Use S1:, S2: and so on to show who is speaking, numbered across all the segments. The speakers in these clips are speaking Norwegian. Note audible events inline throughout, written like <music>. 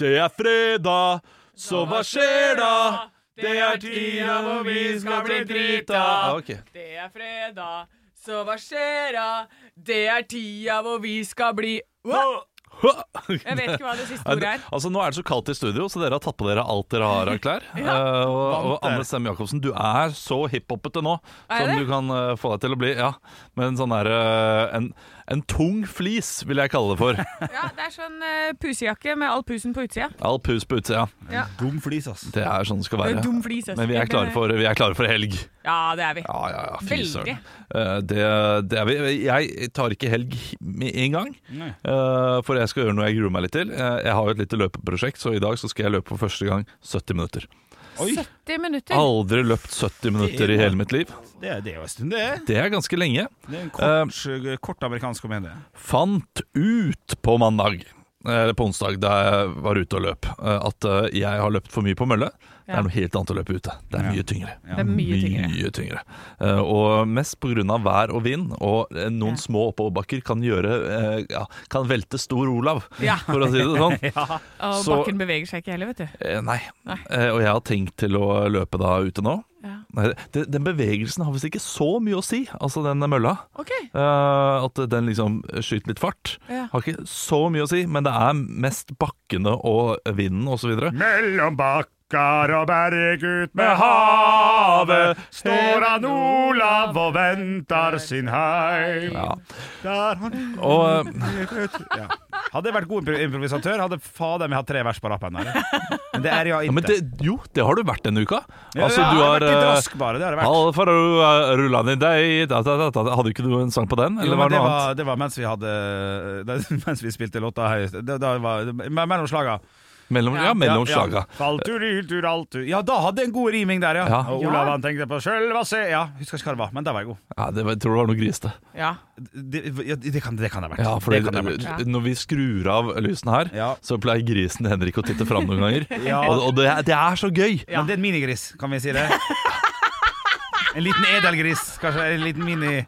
S1: Det er fredag, så hva skjer da? Det er tida hvor vi skal bli drita. Ah, ok.
S2: Det er fredag, så hva skjer da? Det er tida hvor vi skal bli Wow! Jeg vet ikke hva det siste ordet er.
S1: Altså, nå er det så kaldt i studio, så dere har tatt på dere alt dere har av
S2: <laughs>
S1: klær. Eh, og, og Anne Sem Jacobsen, du er så hiphoppete nå
S2: Er
S1: som
S2: jeg
S1: du
S2: det?
S1: kan eh, få deg til å bli. Ja, med en sånn der, eh, en, en tung flis, vil jeg kalle det for.
S2: <laughs> Ja, det er sånn eh, pusejakke med all pusen på utsida.
S1: All pus på utsida.
S3: Dum flis, ass.
S1: Det er sånn det skal
S2: Det er
S1: være.
S2: Dum flis, altså.
S1: Men vi er klare for, vi er klare for helg.
S2: Ja, det er vi.
S1: Ja, ja, ja, fy
S2: Veldig.
S1: søren. Eh, Det, det er vi. Jeg tar ikke helg med en gang,
S3: Nei.
S1: eh, for jeg skal gjøre noe jeg gruer meg litt til. Eh, Jeg har jo et lite løpeprosjekt, så i dag så skal jeg løpe for første gang 70 minutter.
S3: Oi,
S2: 70 minutter.
S1: Aldri løpt 70 minutter i hele mitt liv.
S3: det er, det er jo en stund, det. er.
S1: Det er ganske lenge.
S3: Det er en kort, eh, kort amerikansk komedie.
S1: Fant ut på mandag, eller på onsdag, da jeg var ute og løp, eh, at eh, jeg har løpt for mye på mølle. Det
S2: Ja.
S1: er noe helt annet å løpe ute. Det er
S3: Ja.
S1: mye tyngre.
S2: Det er mye tyngre.
S1: Mye tyngre. Eh, og mest pga. vær og vind, og eh, noen
S2: Ja.
S1: små oppoverbakker kan gjøre eh, ja, Kan velte stor Olav,
S2: Ja.
S1: for å si det sånn.
S2: <laughs> Og
S1: Så-
S2: bakken beveger seg ikke heller, vet du.
S1: Eh, nei.
S2: Nei.
S1: Eh, og jeg har tenkt til å løpe da ute nå.
S2: Ja.
S1: Nei, det, den bevegelsen har visst ikke så mye å si, altså den mølla.
S2: OK.
S1: Eh, at den liksom skyter litt fart.
S2: Ja.
S1: Har ikke så mye å si, men det er mest bakkene og vinden osv.
S3: Mellom bakkar og berg ut
S1: med havet står
S3: han Olav og venter sin heim.
S1: Ja.
S3: Der han
S1: Og
S3: <laughs>
S1: eh,
S3: ja. Hadde jeg vært god impro- improvisatør, hadde fader meg hatt tre vers på rappen. Eller? Men det er jeg
S1: ja,
S3: ikke.
S1: men det, Jo, det har du vært denne uka.
S3: Ja,
S1: Altså,
S3: jeg
S1: du
S3: har
S1: har
S3: vært litt
S1: eh,
S3: rask, bare. Det har jeg vært.
S1: Alfa ru- rulla ned deg da, da, da, da. Hadde ikke du en sang på den? Eller
S3: Jo, men
S1: var det
S3: det,
S1: noe
S3: var,
S1: annet?
S3: det var mens vi hadde <laughs> det, Mens vi spilte låta høyest. Det, da var, me- mellom slaga.
S1: Mellom, ja,
S2: Ja,
S1: mellom
S3: ja,
S1: slaga.
S3: Ja. Faltur, iltur, altur. ja, da hadde jeg en god riming der, ja.
S1: Ja.
S3: Og
S2: Ja.
S3: Olav han tenkte på sjølvasse Ja, husker ikke hva det var, men da var jeg god.
S1: Ja, det var, jeg tror det var noe grisete.
S2: Ja.
S3: Det, ja, det, kan, det kan jeg ha vært.
S1: Ja, for
S3: det kan jeg ha vært.
S2: vært.
S1: når vi skrur av lysene her,
S3: Ja.
S1: så pleier grisen Henrik å titte fram noen ganger.
S3: <laughs> Ja.
S1: Og, og det, er- det er så gøy!
S3: Men det er en minigris, kan vi si det? En liten edelgris, kanskje. En liten mini...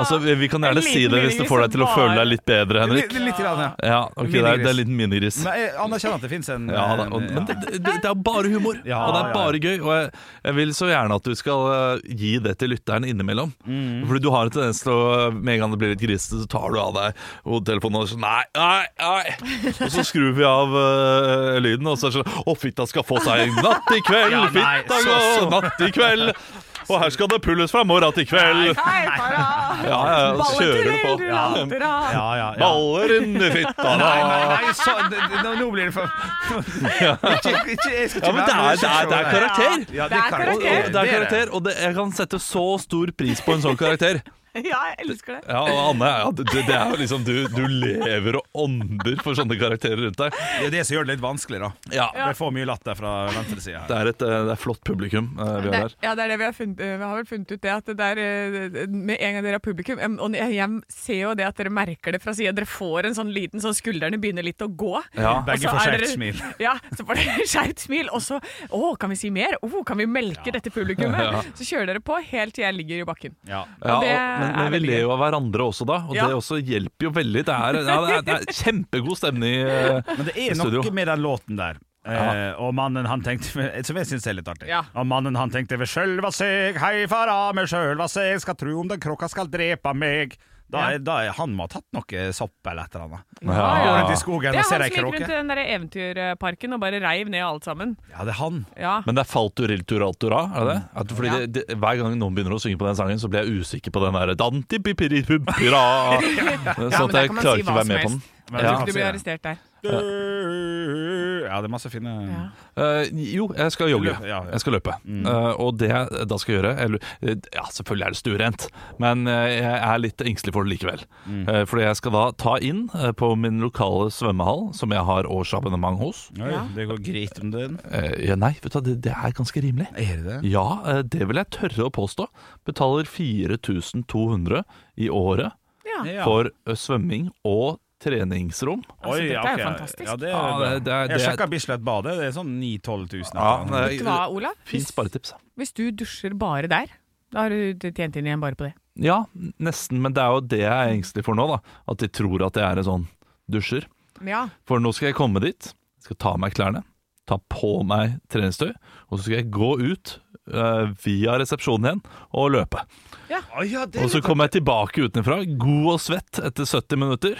S1: Altså, vi- Vi kan gjerne
S2: En
S1: si
S2: liten
S1: det hvis det får deg til å
S2: minigris som
S1: føle
S2: bare-
S1: deg litt bedre,
S3: Litt,
S1: Henrik.
S3: litt grann, ja.
S1: Ja, ok, det er, det er litt minigris.
S3: Men jeg anerkjenner at det fins en
S1: Ja, da, og,
S3: en-
S1: men det, det, det er bare humor,
S3: Ja,
S1: og det er
S3: ja, ja.
S1: bare gøy. Og jeg, jeg vil så gjerne at du skal eh, gi det til lytteren innimellom.
S3: Mm.
S1: Fordi du har en tendens til å Med en gang det blir litt grisete, så tar du av deg hodetelefonen og sånn Nei, nei, nei. Og så skrur vi av eh, lyden, og så er det sånn Å, fitta skal få seg en natt i kveld,
S3: Ja, nei,
S1: fitta
S3: så,
S1: gå
S3: så.
S1: natt i kveld. Og her skal det pulles fra morra til kveld.
S2: Hei, para!
S1: Ja, ja, og så kjører du på.
S3: Ja, ja, ja.
S1: Baller inni fitta da.
S3: Nei, nei, nei, så, d- d- nå, nå blir det for <laughs> ikke, ikke, jeg skal ikke
S1: Ja, men det
S3: være med,
S1: er, det er, det er
S3: jeg skal ikke være med.
S1: karakter.
S2: Det
S3: Ja,
S2: er
S1: Og, og,
S2: karakter.
S1: det er karakter, og det, jeg kan sette så stor pris på en sånn karakter.
S2: Ja, jeg elsker det.
S1: <laughs> Ja, og Anne, ja, det, det er jo liksom du, du lever og ånder for sånne karakterer rundt deg.
S3: Det er det som gjør det litt vanskelig, da.
S1: Ja,
S3: Jeg får mye latter fra venstresida her.
S1: Det er et eh, det er flott publikum eh, vi
S2: Det,
S1: har her.
S2: ja, det er det vi har funnet eh, Vi har vel funnet ut det at det der eh, Med en gang dere har publikum em, Og jeg, jeg ser jo det at dere merker det fra siden Dere får en sånn liten sånn skuldrene begynner litt å gå
S1: Ja.
S2: Og
S3: Begge
S2: så
S3: får
S2: Altså, er
S3: skjevt
S2: dere-
S3: smil.
S2: Ja, så får dere <laughs> skjevt smil Og så, å, kan vi si mer? Å, kan vi melke dette publikummet? Så kjører dere på helt til jeg ligger i bakken
S3: Ja.
S1: Ja, og,
S2: det
S1: men,
S2: er
S1: men vi
S2: veldig
S1: ler jo av hverandre også da, og
S2: Ja.
S1: det også hjelper jo veldig. Det er, ja, det er, det er kjempegod stemning. eh,
S3: Men det
S1: <laughs>
S3: er
S1: Studio.
S3: noe med den låten der. Eh, og mannen han tenkte <laughs> Som jeg syns er litt artig.
S2: Ja.
S3: Og mannen han tenkte ved sjølva seg, hei fara meg sjølva seg, skal tru om den krokka skal drepa meg. Da er, da er han må ha tatt noe sopp eller et eller annet. Går rundt i skogen
S2: Det er
S3: og
S2: han som
S3: ser ei
S2: gikk rundt i
S3: kråke.
S2: den der eventyrparken Og bare reiv ned alt sammen
S3: Ja, det er han.
S2: Ja,
S1: Men det er falturillturaltura, er det det? At fordi
S2: Ja.
S1: det, det? Hver gang noen begynner å synge på den sangen, så blir jeg usikker på den derre Dantipipiripupira.
S2: <laughs> Ja,
S1: Sånn
S2: men
S1: at
S2: der
S1: jeg
S2: kan man
S1: klarer
S2: si
S1: ikke å
S2: hva
S1: være med
S2: som
S1: på den. Ja.
S3: Men
S2: du
S3: han
S2: blir
S3: sier det.
S2: arrestert der
S3: Ja, det er masse fine
S2: ja.
S1: Eh, jo, jeg skal jogge.
S3: Løpe, ja, Mm. ja.
S1: Jeg skal løpe. Eh, og det jeg da skal gjøre eller, eh, Ja, selvfølgelig er det stuerent, men eh, jeg er litt engstelig for det likevel.
S3: Mm.
S1: Eh, fordi jeg skal da ta inn eh, på min lokale svømmehall, som jeg har årsabonnement hos.
S3: Oi, Det går greit om den.
S1: Eh, ja, nei, vet du, hva, det, det er ganske rimelig.
S3: Er det
S1: Ja, eh, det vil jeg tørre å påstå. Betaler 4200 i året
S2: Ja.
S3: Ja.
S1: for eh, svømming og treningsrom.
S2: Altså, dette er jo
S3: ok.
S2: fantastisk.
S3: Ja, det er
S1: Ja,
S3: bra.
S1: det- det er- det
S3: Jeg
S1: er-
S3: sjekka Bislett Badet, det er sånn 9 000-12 000.
S1: Ja,
S3: etter
S1: eh,
S2: Vet du hva, Olav?
S1: Fint sparetips.
S2: Hvis du dusjer bare der, da har du tjent inn igjen bare på det.
S1: Ja, nesten, men det er jo det jeg er engstelig for nå, da. At de tror at jeg er en sånn dusjer.
S2: Ja,
S1: For nå skal jeg komme dit, skal ta av meg klærne, ta på meg treningstøy, og så skal jeg gå ut eh, via resepsjonen igjen og løpe.
S3: Å ja, det
S1: Og så kommer jeg tilbake utenfra, god og svett etter 70 minutter.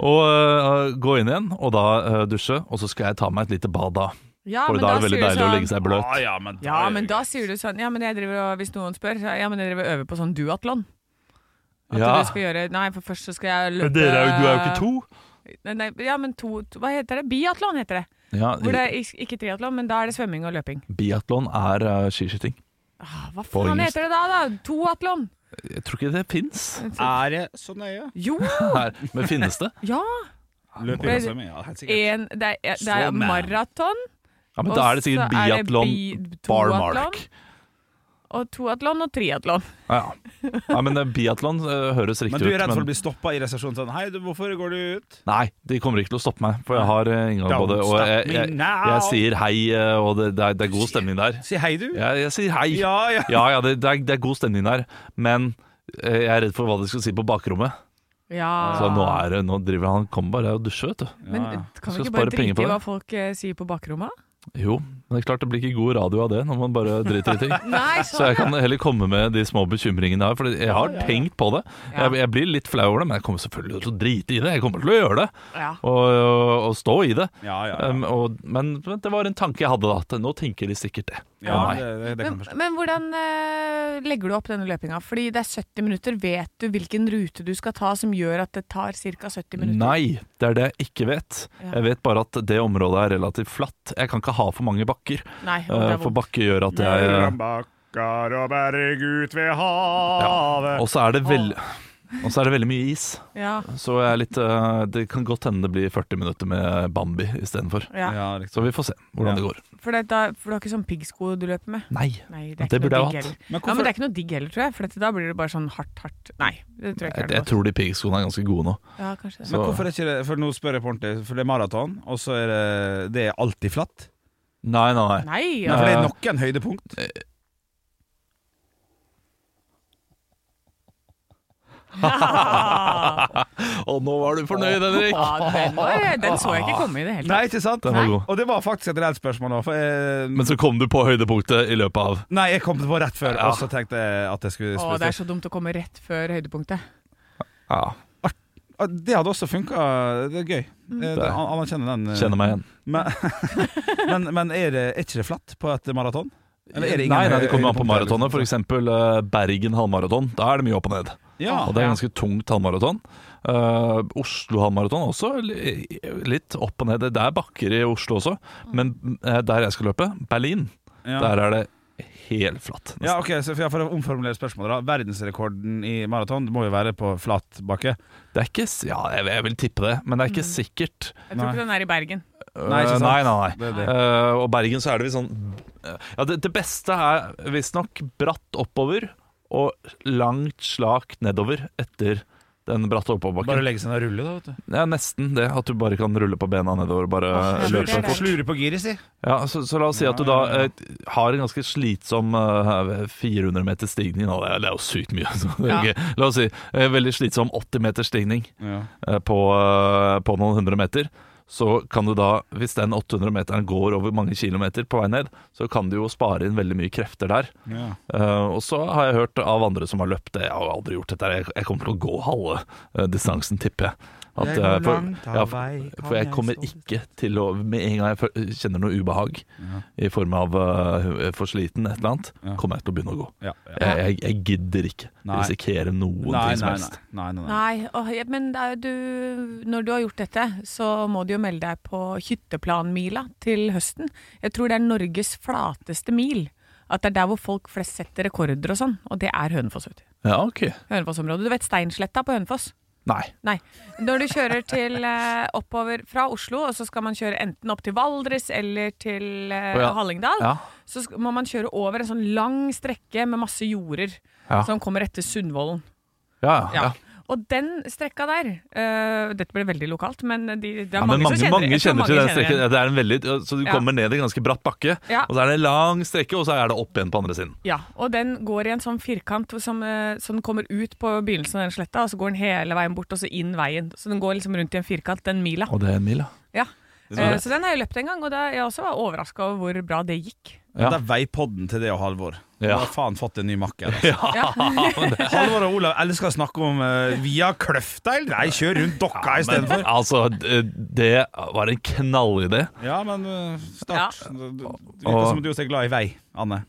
S1: Og eh, gå inn igjen, og da eh, dusje. Og så skal jeg ta meg et lite bad da.
S2: Ja,
S1: For
S2: men
S1: da er det veldig
S2: sier du
S1: deilig å
S2: sånn-
S1: legge seg bløt.
S3: Ah, ja, men da,
S2: Ja,
S3: er det
S2: men da
S3: greit.
S2: sier du sånn Ja, men jeg driver og Hvis noen spør, så, ja, men jeg driver og øver på sånn duatlon. At
S1: Ja.
S2: du skal gjøre Nei, for først så skal jeg løpe
S1: Men dere er jo, du er jo ikke to.
S2: Nei, nei, ja, men to, to Hva heter det? Biatlon heter det.
S1: Ja,
S2: Hvor det er is- ikke triatlon, men da er det svømming og løping.
S1: Biatlon er eh, skiskyting.
S2: Ah, hva
S1: På
S2: faen
S1: engelsk.
S2: heter det da? da? Toatlon?
S1: Jeg tror ikke det fins.
S3: Er det så nøye?
S2: Jo!
S1: Her, men finnes det?
S2: Ja!
S3: Løping og svømming, ja, helt
S2: <laughs>
S3: sikkert.
S2: En, det er, det er
S3: Swimmer.
S2: maraton,
S1: Ja, men
S2: Og
S1: Da er det
S2: så
S1: sikkert
S2: er det
S1: biatlon,
S2: bi-
S1: barmark.
S2: toatlon. og toatlon og triatlon.
S1: Ja, ja. ja, men eh, biatlon eh, høres riktig
S3: Men
S1: ut.
S3: du er redd for å bli stoppa i resepsjonen sånn Hei, du, hvorfor går du ut?
S1: Nei, de kommer ikke til å stoppe meg, for jeg har eh, inngang på
S3: Don't
S1: det. Og
S3: stop
S1: jeg,
S3: me
S1: jeg,
S3: now.
S1: jeg sier hei, eh, og det, det, er, det er god stemning der.
S3: Si hei, du.
S1: Jeg, jeg sier hei.
S3: ja. ja.
S1: Ja, ja, det, det, er, det er god stemning der, men eh, jeg er redd for hva de skal si på bakrommet.
S2: Ja.
S1: Så nå, er, det- nå driver han kommer bare og dusjer, vet du.
S2: Men kan
S1: Skal
S2: vi ikke
S1: spare
S2: bare
S1: penger på
S2: drite i
S1: det.
S2: hva folk eh, sier på bakrommet?
S1: Jo, men det er klart det blir ikke god radio av det når man bare driter
S2: <laughs>
S1: i ting. <laughs>
S2: Nei, sånn,
S1: Så jeg kan heller komme med de små bekymringene her, for jeg har tenkt på det.
S2: Ja.
S1: Jeg, jeg blir litt flau over det, men jeg kommer selvfølgelig til å drite i det. Jeg kommer til å gjøre det,
S2: Ja.
S1: og, og, og stå i det.
S3: Ja, ja, ja.
S1: Um, og, men det var en tanke jeg hadde da, at nå tenker de sikkert det.
S3: ja
S1: om meg.
S3: det, det, det
S2: Men,
S3: kan jeg forstå.
S2: men hvordan eh, legger du opp denne løpinga? Fordi det er 70 minutter. Vet du hvilken rute du skal ta som gjør at det tar ca. 70 minutter?
S1: Nei, det er det jeg ikke vet.
S2: Ja.
S1: Jeg vet bare at det området er relativt flatt. Jeg kan ikke ha for mange bakker,
S2: Nei og det
S1: eh,
S2: er
S1: for
S2: vondt.
S1: bakker gjør at jeg eh,
S3: Mellom bakkar og berg ut ved havet
S1: eh, Og så er det veldig og så er det veldig mye is,
S2: ja,
S1: så jeg er litt, eh, det kan godt hende det blir 40 minutter med Bambi istedenfor.
S2: ja.
S3: Ja, riktig.
S1: Så vi får se hvordan det går.
S2: For, det, da, for du har ikke sånn piggsko du løper med?
S1: Nei,
S2: Nei, det
S1: Det
S2: er ikke
S1: burde
S2: noe
S1: jeg
S2: digg
S1: hatt.
S2: heller. Ja,
S3: Men
S2: men
S3: hvorfor
S2: det er ikke noe digg heller, tror jeg. For dette, da blir det bare sånn hardt, hardt Nei, det tror jeg
S1: jeg,
S2: ikke
S1: jeg
S2: er noe.
S1: tror de piggskoene er ganske gode nå.
S2: Ja, kanskje det.
S1: Så-
S3: Men hvorfor er ikke det For nå spør jeg på ordentlig, for det er maraton, og så er det Det er alltid flatt?
S1: Nei, nei, nei.
S2: Nei,
S3: Nei,
S2: ja.
S3: for det er noen høydepunkt.
S2: <laughs>
S1: Og nå var du fornøyd, Henrik.
S2: ja den, var, den så jeg ikke komme i det hele tatt.
S3: Nei, ikke sant?
S1: Den var god.
S3: Og det var faktisk et reelt spørsmål nå, for jeg,
S1: Men så kom du på høydepunktet i løpet av
S3: Nei, jeg kom på rett før,
S1: Ja.
S3: og så tenkte jeg at jeg skulle
S2: Å,
S3: spørre.
S2: det er så dumt å komme rett før høydepunktet.
S1: ja,
S3: Ja, Det hadde også funka. Det er gøy. Eh,
S1: Det-
S3: an- Anerkjenner den. eh,
S1: Kjenner meg igjen.
S3: Men, men, <laughs> men er, det, er ikke det flatt på et maraton? Eller er det ingen
S1: nei, nei, det kommer an på
S3: høydepunkter,
S1: maratonet. For eksempel eh, Bergen halvmaraton. Da er det mye opp og ned.
S3: Ja.
S1: Og det er ganske tungt halvmaraton. Eh, Oslo halvmaraton også. li- Litt opp og ned. Det er bakker i Oslo også. Men eh, der jeg skal løpe, Berlin,
S3: Ja.
S1: der er det helt flatt.
S3: ja, ok, så for, for å omformulere spørsmålet da Verdensrekorden i maraton må jo være på flat bakke.
S1: Det er ikke s- Ja, jeg, jeg vil tippe det, men det er ikke sikkert.
S2: Jeg tror
S3: Nei.
S2: ikke den er i Bergen.
S3: Mm. Nei, ikke sant?
S1: Eh, nei, nei, nei.
S3: Det er det.
S1: Eh, og Bergen så er det visst sånn Ja, det, det beste er visstnok bratt oppover og langt slakt nedover etter den bratte
S3: Bare
S1: oppoverbakken.
S3: legge seg ned og rulle, da. vet du
S1: Det er nesten det, at du bare kan rulle på bena nedover og bare
S2: Åh, jeg
S1: løpe
S2: vurderer
S1: fort.
S2: det.
S3: Slure på giret, si.
S1: Ja, så, så la oss si at du da eh, har en ganske slitsom eh, 400 meter stigning. Nå, det, er, det er jo sykt mye. Så <laughs> det er
S2: Ja.
S1: ikke- La oss si eh, veldig slitsom 80 meter stigning
S3: Ja.
S1: eh, på, eh, på noen hundre meter, så kan du da, hvis den 800 meteren går over mange kilometer på vei ned, så kan du jo spare inn veldig mye krefter der.
S3: Ja.
S1: Eh, og så har jeg hørt av andre som har løpt det, jeg har aldri gjort dette, her, jeg, jeg kommer til å gå halve eh, distansen, tipper jeg. At,
S3: Jeg går
S1: eh, for,
S3: langt av
S1: ja,
S3: vei,
S1: for,
S3: kan
S1: for jeg
S3: jeg
S1: kommer
S3: stå-
S1: ikke til å Med en gang jeg fø- kjenner noe ubehag i form av eh, for sliten, et eller annet,
S3: Ja.
S1: kommer jeg til å begynne å gå.
S3: Ja, ja.
S1: Jeg, jeg, jeg gidder ikke
S3: Nei.
S1: risikere noen
S3: Nei,
S1: ting som
S3: nei,
S1: helst.
S3: nei. nei, nei, nei.
S2: Nei, åh, ja, men det er jo du, når du har gjort dette, så må du jo melde deg på hytteplanmila til høsten. Jeg tror det er Norges flateste mil. At det er der hvor folk flest setter rekorder og sånn. Og det er Hønefoss. vet du.
S1: Ja, ok.
S2: Hønefossområdet. Du vet Steinsletta på Hønefoss?
S1: Nei.
S2: Nei. Når du kjører til <laughs> eh, oppover fra Oslo, og så skal man kjøre enten opp til Valdres eller til eh,
S1: Å ja.
S2: Hallingdal,
S1: Ja.
S2: så sk- må man kjøre over en sånn lang strekke med masse jorder
S1: Ja.
S2: som kommer etter Sundvolden.
S1: Ja, ja.
S2: Ja. Og den strekka der eh, Dette ble veldig lokalt, men de, det er
S1: Ja, men
S2: mange,
S1: mange,
S2: som kjenner,
S1: mange
S2: jeg tror
S1: kjenner til den strekken.
S2: igjen.
S1: Ja, Det er en veldig, så du
S2: Ja.
S1: kommer ned i en ganske bratt bakke,
S2: Ja.
S1: og så er det en lang strekke, og så er det opp igjen på andre siden.
S2: Ja, og den går i en sånn firkant som, eh, så den kommer ut på begynnelsen av den sletta, og så går den hele veien bort, og så inn veien. Så den går liksom rundt i en firkant, den mila.
S1: Og det er en mil, ja.
S2: Ja. Eh, Så den har jeg løpt en gang, og da jeg også var overraska over hvor bra det gikk.
S1: Ja.
S3: Det er veipodden til det og Halvor. Ja.
S1: Ja.
S3: Har faen fått en ny makker. altså.
S1: <laughs> Ja, men det,
S3: Halvor og Olav elsker å snakke om eh, via kløfta. eller? Nei, kjør rundt dokka
S1: men
S3: istedenfor.
S1: altså, det det var en knallidé.
S3: Ja, men eh, start. Du du- du virker
S1: Og-
S3: som du også er glad i vei, Anne.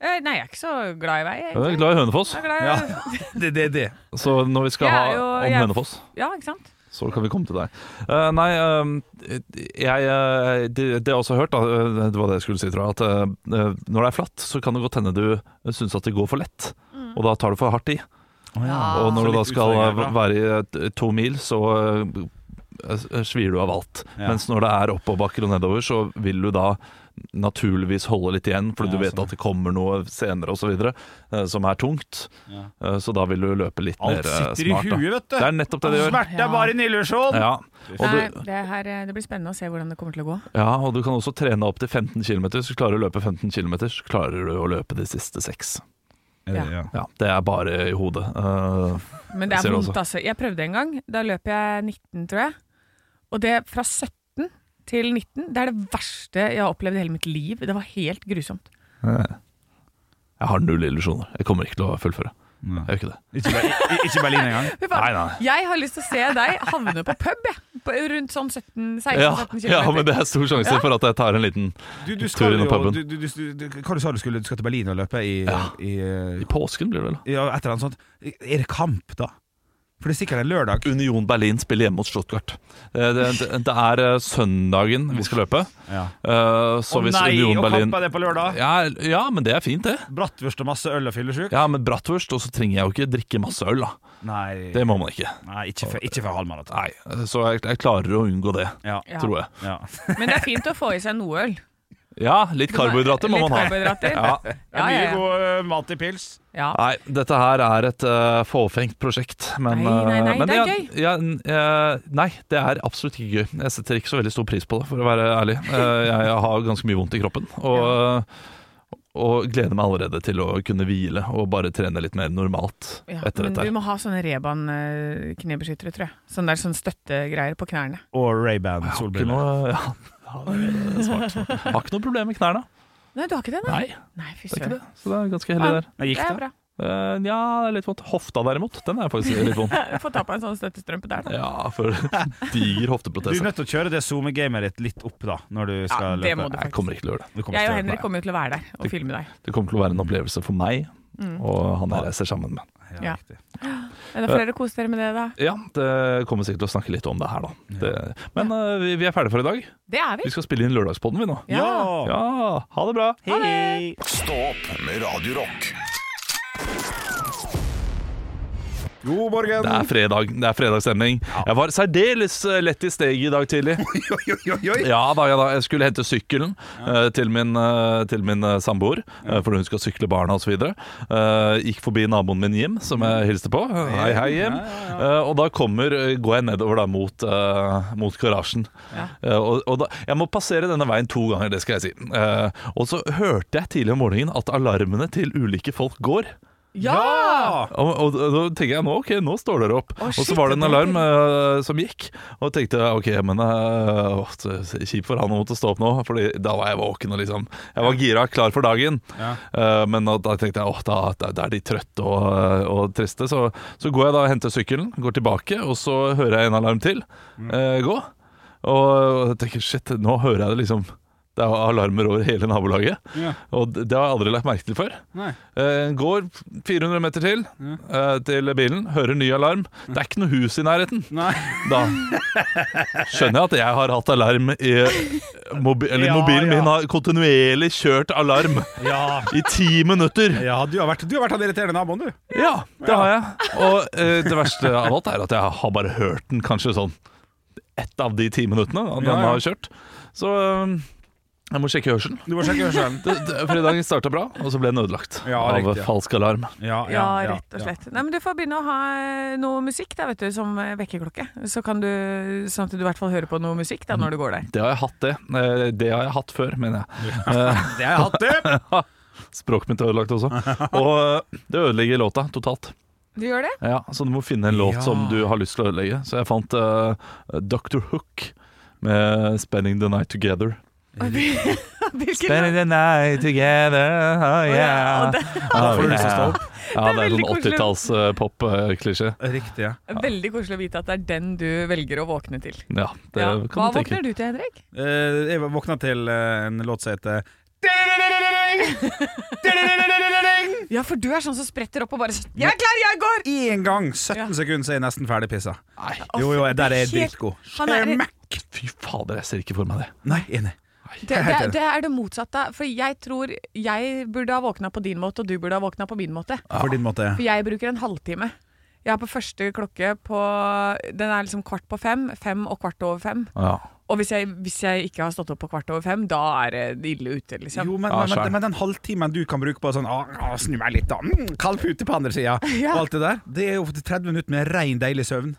S2: Eh, Nei, jeg er ikke så glad i vei,
S1: Jeg er
S2: egentlig.
S1: glad i Hønefoss,
S2: Jeg er glad i,
S3: <laughs> Ja,
S2: ja.
S3: det er det, det.
S1: så når vi skal
S2: Jeg
S1: ha
S2: er jo-
S1: om
S2: jeg-
S1: Hønefoss
S2: ikke sant?
S1: så kan vi komme til deg. Eh, nei, eh, jeg, eh, det, det jeg også har hørt, da, eh, det var det jeg skulle si, tror jeg, at eh, eh, når det er flatt, så kan det godt hende du syns at det går for lett,
S2: Mm.
S1: og da tar du for hardt i.
S2: Ja.
S1: Og
S3: Så
S1: når du da
S3: litt
S1: skal
S3: utfordringer, da.
S1: eh, være i eh, to mil, så eh, svir du av alt.
S3: Ja.
S1: Mens når det er oppoverbakker og nedover, så vil du da naturligvis holde litt igjen, fordi
S3: Ja,
S1: du vet
S3: sånn.
S1: at det kommer noe senere osv. eh, som er tungt.
S3: Ja.
S1: Eh, Så da vil du løpe litt mer
S3: Alt
S1: eh,
S3: sitter i
S1: smart. da.
S3: huet, vet du.
S1: Det er nettopp det det gjør.
S3: Smerte er bare en illusjon.
S1: Ja. Og,
S2: Nei,
S1: du,
S2: det, her, eh, det blir spennende å se hvordan det kommer til å gå.
S1: ja, og du kan også trene opp til 15 km. Så klarer du å løpe 15 km, så klarer du å løpe de siste seks.
S3: Er det- ja.
S1: Ja, det er bare i hodet. Eh,
S2: Men det
S1: Ser
S2: er
S1: du
S2: vondt,
S1: også.
S2: altså. Jeg prøvde en gang. Da løp jeg 19, tror jeg. Og det fra 17 til 19, det er det verste jeg har opplevd i hele mitt liv. Det var helt grusomt.
S1: Jeg har null illusjoner. Jeg kommer ikke til å fullføre.
S3: Nei.
S1: Jeg gjør ikke det.
S3: Ikke, Ber- i- ikke
S2: <laughs>
S3: Berlin engang.
S2: Fy faen,
S1: Nei, nei.
S2: Jeg har lyst til å se deg havne på pub, jeg. På, rundt sånn 17-16-17
S1: Ja,
S2: km.
S1: ja, men det er stor sjanse
S2: Ja.
S1: for at jeg tar en liten
S3: Du, du
S1: Tur
S3: skal
S1: innom
S3: jo
S1: puben.
S3: du, du, du, du, Hva du sa du skulle? Du skal til Berlin og løpe i,
S1: Ja.
S3: i, eh,
S1: I påsken blir det vel?
S3: ja, Et eller annet sånt. Er det kamp, da? For det er sikkert en lørdag.
S1: Union Berlin spiller hjemme mot Stuttgart. Eh, Det, det, det er eh, søndagen vi skal løpe.
S3: Ja.
S1: eh,
S3: Å
S1: Så hvis
S3: nei,
S1: Union
S3: og
S1: Berlin
S3: kamp er det på lørdag?
S1: ja, ja, men det er fint, det.
S3: Brattvurst og masse øl og fyllesyk?
S1: Ja, Men bratwurst, og så trenger jeg jo ikke drikke masse øl, da.
S3: Nei,
S1: Det må man ikke.
S3: nei, ikke for, ikke for halvmaraton.
S1: Nei, eh, Så jeg, jeg klarer å unngå det,
S3: Ja.
S2: Ja.
S1: tror jeg.
S3: Ja.
S2: Men det er fint å få i seg noe øl.
S1: Ja, litt karbohydrater må
S2: Litt
S1: man ha. <laughs>
S2: karbohydrater.
S1: Ja.
S2: Ja, ja,
S3: Mye
S2: ja.
S3: god eh, mat i pils.
S2: ja.
S1: Nei, dette her er et eh, fåfengt prosjekt. Men,
S2: Nei, nei, nei,
S1: eh, men
S2: det er
S1: jeg- jeg- eh, nei, det er absolutt ikke gøy. Jeg setter ikke så veldig stor pris på det, for å være ærlig. Eh, jeg, har ganske mye vondt i kroppen. Og, og gleder meg allerede til å kunne hvile og bare trene litt mer normalt
S2: Ja,
S1: etter
S2: men
S1: dette.
S2: du
S1: her.
S2: må ha sånne Reban-knebeskyttere, tror jeg. Sånn der sånn støttegreier på knærne.
S3: Og Ray-Ban
S1: Jeg har ikke
S3: solbriller.
S1: noe, ja, <laughs> ja, det er smart, smart. Jeg har ikke noe problem med knærne.
S2: Nei, du har ikke det? Nei,
S1: Nei,
S2: nei fy
S1: det er ikke
S2: søren.
S1: det. Så det er ganske heldig der.
S3: Nei, Gikk
S2: Det er
S3: det?
S2: bra.
S1: Eh, ja, det er litt vondt. Hofta derimot, den er faktisk litt
S3: <laughs>
S1: vond.
S2: <laughs> Få ta på en sånn støttestrømpe der, da.
S1: Ja, for <laughs> diger
S3: Du er
S1: hofteprotese.
S3: nødt til å kjøre det SoMe-gamet ditt litt opp, da, når du skal
S2: Ja, det
S3: løpe.
S2: må du
S1: Jeg
S2: faktisk.
S1: kommer ikke til å gjøre det.
S3: Du kommer
S2: Jeg og
S3: til å-
S2: Henrik kommer jo til å være der og
S1: Det-
S2: filme deg.
S1: Det kommer til å være en opplevelse for meg og han jeg reiser sammen med.
S3: Nei, Ja,
S2: Ja.
S3: riktig.
S2: Er det flere koser dere med det, da?
S1: Ja, det kommer sikkert til å snakke litt om det her, da. Det, men eh, vi, vi er ferdige for i dag.
S2: Det er vi.
S1: Vi skal spille inn lørdagspodden, vi nå.
S2: Ja.
S1: Ja, ha det bra.
S3: Hei, hei.
S4: Stå opp med Radio Rock.
S3: God morgen.
S1: Det er fredag, det er fredagsstemning. Jeg var særdeles eh, lett i steget i dag tidlig.
S3: Oi, oi, oi, oi.
S1: Ja da, ja da. Jeg skulle hente sykkelen eh, til min, eh, til min eh, samboer, eh, fordi hun skal sykle barna osv. Uh, gikk forbi naboen min Jim, som jeg hilste på. Hei, hei, Jim. Eh, og da kommer, eh, går jeg nedover da mot, eh, mot garasjen. Eh, og, og da, jeg må passere denne veien to ganger, det skal jeg si. Eh, og så hørte jeg tidlig om morgenen at alarmene til ulike folk går.
S3: Ja!
S1: Og, og, og da tenker jeg nå, ok, nå står dere opp. og så var det en alarm eh, som gikk, og jeg tenkte ok, men eh, åh, så- så kjipt for han å måtte stå opp nå, Fordi da var jeg våken og liksom Jeg var gira, klar for dagen. Eh, men da, da tenkte jeg åh, da, da, da er de trøtte og, eh, og triste. Så, så går jeg da og henter sykkelen, går tilbake, og så hører jeg en alarm til eh, gå. Og, og jeg tenker shit, nå hører jeg det liksom Det er alarmer over hele nabolaget.
S3: Ja.
S1: Og det det har jeg aldri lagt merke til før.
S3: Nei.
S1: Eh, går 400 meter til eh, til bilen, hører ny alarm. Det er ikke noe hus i nærheten.
S3: Nei.
S1: Da skjønner jeg at jeg har hatt alarm i mobi Eller
S3: Ja,
S1: mobilen
S3: ja.
S1: min har kontinuerlig kjørt alarm
S3: <laughs> Ja.
S1: i ti minutter.
S3: ja du, har vært, du har vært han irriterende naboen, du.
S1: Ja, det har jeg. Og eh, det verste av alt er at jeg har bare hørt den kanskje sånn ett av de ti minuttene den
S3: Ja, ja.
S1: har kjørt. Så eh, jeg må sjekke hørselen.
S3: Du må sjekke hørselen.
S1: Det- det- Fredagen starta bra, og så ble den ødelagt
S3: Ja,
S1: av
S3: riktig, ja.
S1: falsk alarm.
S3: Ja,
S2: Ja, rett og slett. Nei, men du får begynne å ha eh, noe musikk da, vet du, som eh, vekkerklokke. Så kan du, sånn at du i hvert fall hører på noe musikk da, når du går der.
S1: Det har jeg hatt, det. Eh, Det har jeg hatt før, mener jeg. Eh,
S3: Det har jeg
S2: <laughs>
S3: hatt, det.
S1: Språket mitt er ødelagt også. Og eh, det ødelegger låta totalt.
S2: Du gjør det?
S1: Ja, så du må finne en låt
S3: Ja.
S1: som du har lyst til å ødelegge. Så jeg fant eh, Dr. Hook med 'Spending the Night Together'.
S3: Mm.
S2: <laughs> Hvilken
S1: Spending the night together, oh
S2: ja,
S1: yeah.
S2: og det
S1: Oh,
S3: Får du lyst til å stå
S1: yeah.
S3: opp?
S1: Ja, det er
S2: veldig
S1: sånn
S2: koselig.
S1: 80-talls-pop-klisjé.
S3: Riktig, ja.
S2: er veldig koselig å vite at det er den du velger å våkne til.
S1: Ja, det
S2: Ja. Hva
S1: kan du tenke.
S2: våkner du til, Henrik?
S3: <laughs>
S2: <laughs>
S3: Eh, jeg våkna til eh, en låt som heter
S2: Ja, for du er sånn som spretter opp og bare Jeg er klar, jeg går!
S3: Én gang, 17
S2: Ja.
S3: sekunder, så er jeg nesten ferdig pissa.
S1: Nei,
S3: Jo, jo, der er jeg
S2: helt-
S3: dritgod.
S2: han er-
S3: Skjermack!
S1: fy fader, jeg ser ikke for meg det.
S3: Nei, enig.
S2: Det, det,
S3: Helt enig.
S2: det er det motsatte. For jeg tror jeg burde ha våkna på din måte, og du burde ha våkna på min måte.
S3: På din måte.
S2: For jeg bruker en halvtime. Jeg har på første klokke på Den er liksom kvart på fem. Fem og kvart over fem.
S1: Ja.
S2: Og hvis jeg, hvis jeg ikke har stått opp på kvart over fem, da er det ille ute, liksom.
S3: Jo, men,
S1: Ja,
S3: men,
S1: skjønn.
S3: men, men den halvtimen du kan bruke på sånn «Å, å, Snu meg litt, da. Mm, kald pute på andre sida.
S2: Ja.
S3: Og alt det der. Det er jo 30 minutter med rein, deilig søvn.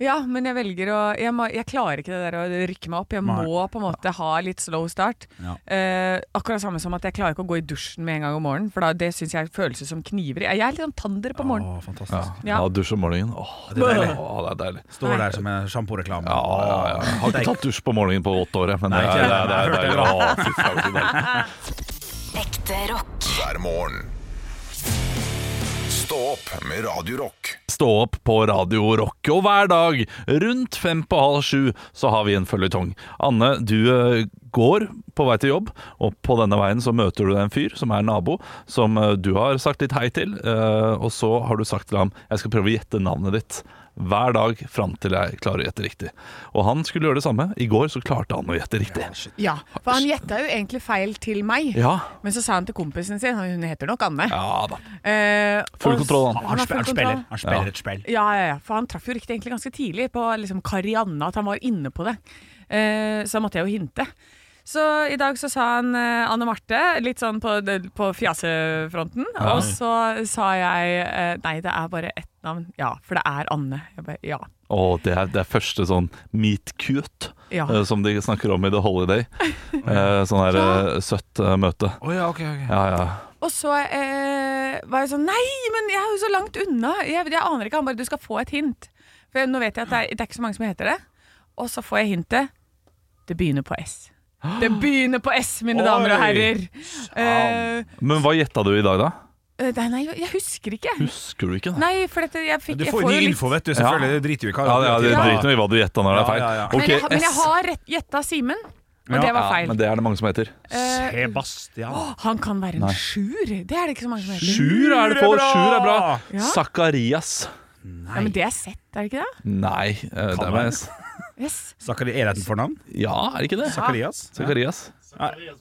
S2: Ja, men jeg velger å Jeg, må, jeg klarer ikke det der å rykke meg opp. Jeg
S3: Nei.
S2: må på en måte ha litt slow start.
S3: Ja.
S2: Eh, akkurat samme som at jeg klarer ikke å gå i dusjen med en gang om morgenen, for da, det syns jeg føles ut som kniver. Jeg er litt sånn tander på morgenen.
S3: Å, fantastisk.
S1: Ja.
S2: Ja.
S1: ja, dusj om morgenen. Åh, det
S3: er
S1: er
S3: deilig.
S1: deilig. Åh, det er deilig.
S3: Står der som en sjamporeklame.
S1: Ja, ja, ja. Jeg har ikke tatt dusj på morgenen på åtte år, jeg, men det
S3: Nei, ikke
S1: er, det
S3: jeg.
S1: er, det er,
S3: Jeg
S1: deilig. Åh, fy faen, så deilig.
S5: Ekte rock.
S4: hver morgen. Stå opp med Radio Rock.
S1: Stå opp på Radio Rock, og hver dag rundt fem på halv sju så har vi en føljetong. Anne, du eh, går på vei til jobb, og på denne veien så møter du en fyr som er nabo, som eh, du har sagt litt hei til, eh, og så har du sagt til ham jeg skal prøve å gjette navnet ditt hver dag fram til jeg klarer å gjette riktig. Og han skulle gjøre det samme. I går så klarte han å gjette riktig.
S2: Ja, for han gjetta jo egentlig feil til meg.
S1: Ja,
S2: Men så sa han til kompisen sin, hun heter nok Anne
S1: ja da.
S2: eh,
S1: Full
S2: og s-
S1: kontroll, han.
S2: har
S3: Han, Ah, sp
S2: full
S3: han
S2: kontroll.
S3: spiller, han spiller
S1: Ja.
S3: et spill.
S2: Ja, ja, ja, for han traff jo riktig egentlig ganske tidlig på liksom Karianne, at han var inne på det. Eh, så da måtte jeg jo hinte. Så i dag så sa han eh, Anne Marte, litt sånn på, det- på fjasefronten, og så sa jeg eh, nei, det er bare ett navn. Ja, for det er Anne. Jeg bare, ja.
S1: Og det er, det er første sånn meet cute
S2: Ja.
S1: eh, som de snakker om i The
S2: <laughs>
S1: Holiday. Eh, sånn her eh, søtt eh, møte.
S3: Oh, ja, ok, ok.
S1: Ja, ja.
S2: Og så eh, var jeg sånn Nei, men jeg er jo så langt unna. Jeg, jeg aner ikke. Han bare Du skal få et hint. For jeg, nå vet jeg at det er, det er ikke så mange som heter det. Og så får jeg hintet. Det begynner på S.
S3: <gasps>
S2: Det begynner på S, mine
S3: Oi!
S2: damer og herrer. Eh,
S1: Men hva gjetta du i dag, da?
S2: eh, nei, nei, jeg husker ikke.
S1: Husker du ikke? da?
S2: Nei, for dette, jeg fikk
S3: Du
S2: jeg
S3: får ny
S2: jo litt-
S3: info, vet du. Selvfølgelig. Det driter jo i hva
S1: Ja, ja, Det
S3: Ja.
S1: driter noe i hva du gjetta når det er feil.
S3: Ja, ja, ja.
S1: Ok,
S2: men, jeg, har- men jeg
S1: S.
S2: har rett- gjetta Simen, og
S3: Ja,
S2: det var
S1: Ja,
S2: feil.
S1: men det er det mange som heter.
S2: Eh,
S3: Sebastian.
S2: han kan være en sjuer. Det er det ikke så mange som heter.
S1: Sjur er det på!
S3: er bra!
S1: Sjur er bra!
S2: Ja.
S1: Sakarias.
S2: Ja, men det er sett, er det ikke det?
S1: Nei, eh, det er
S3: være.
S1: med S.
S2: Yes.
S3: Sakari, er det et fornavn?
S1: Ja, er det ikke det?
S3: Sakarias?
S1: Sakarias.
S3: Sakarias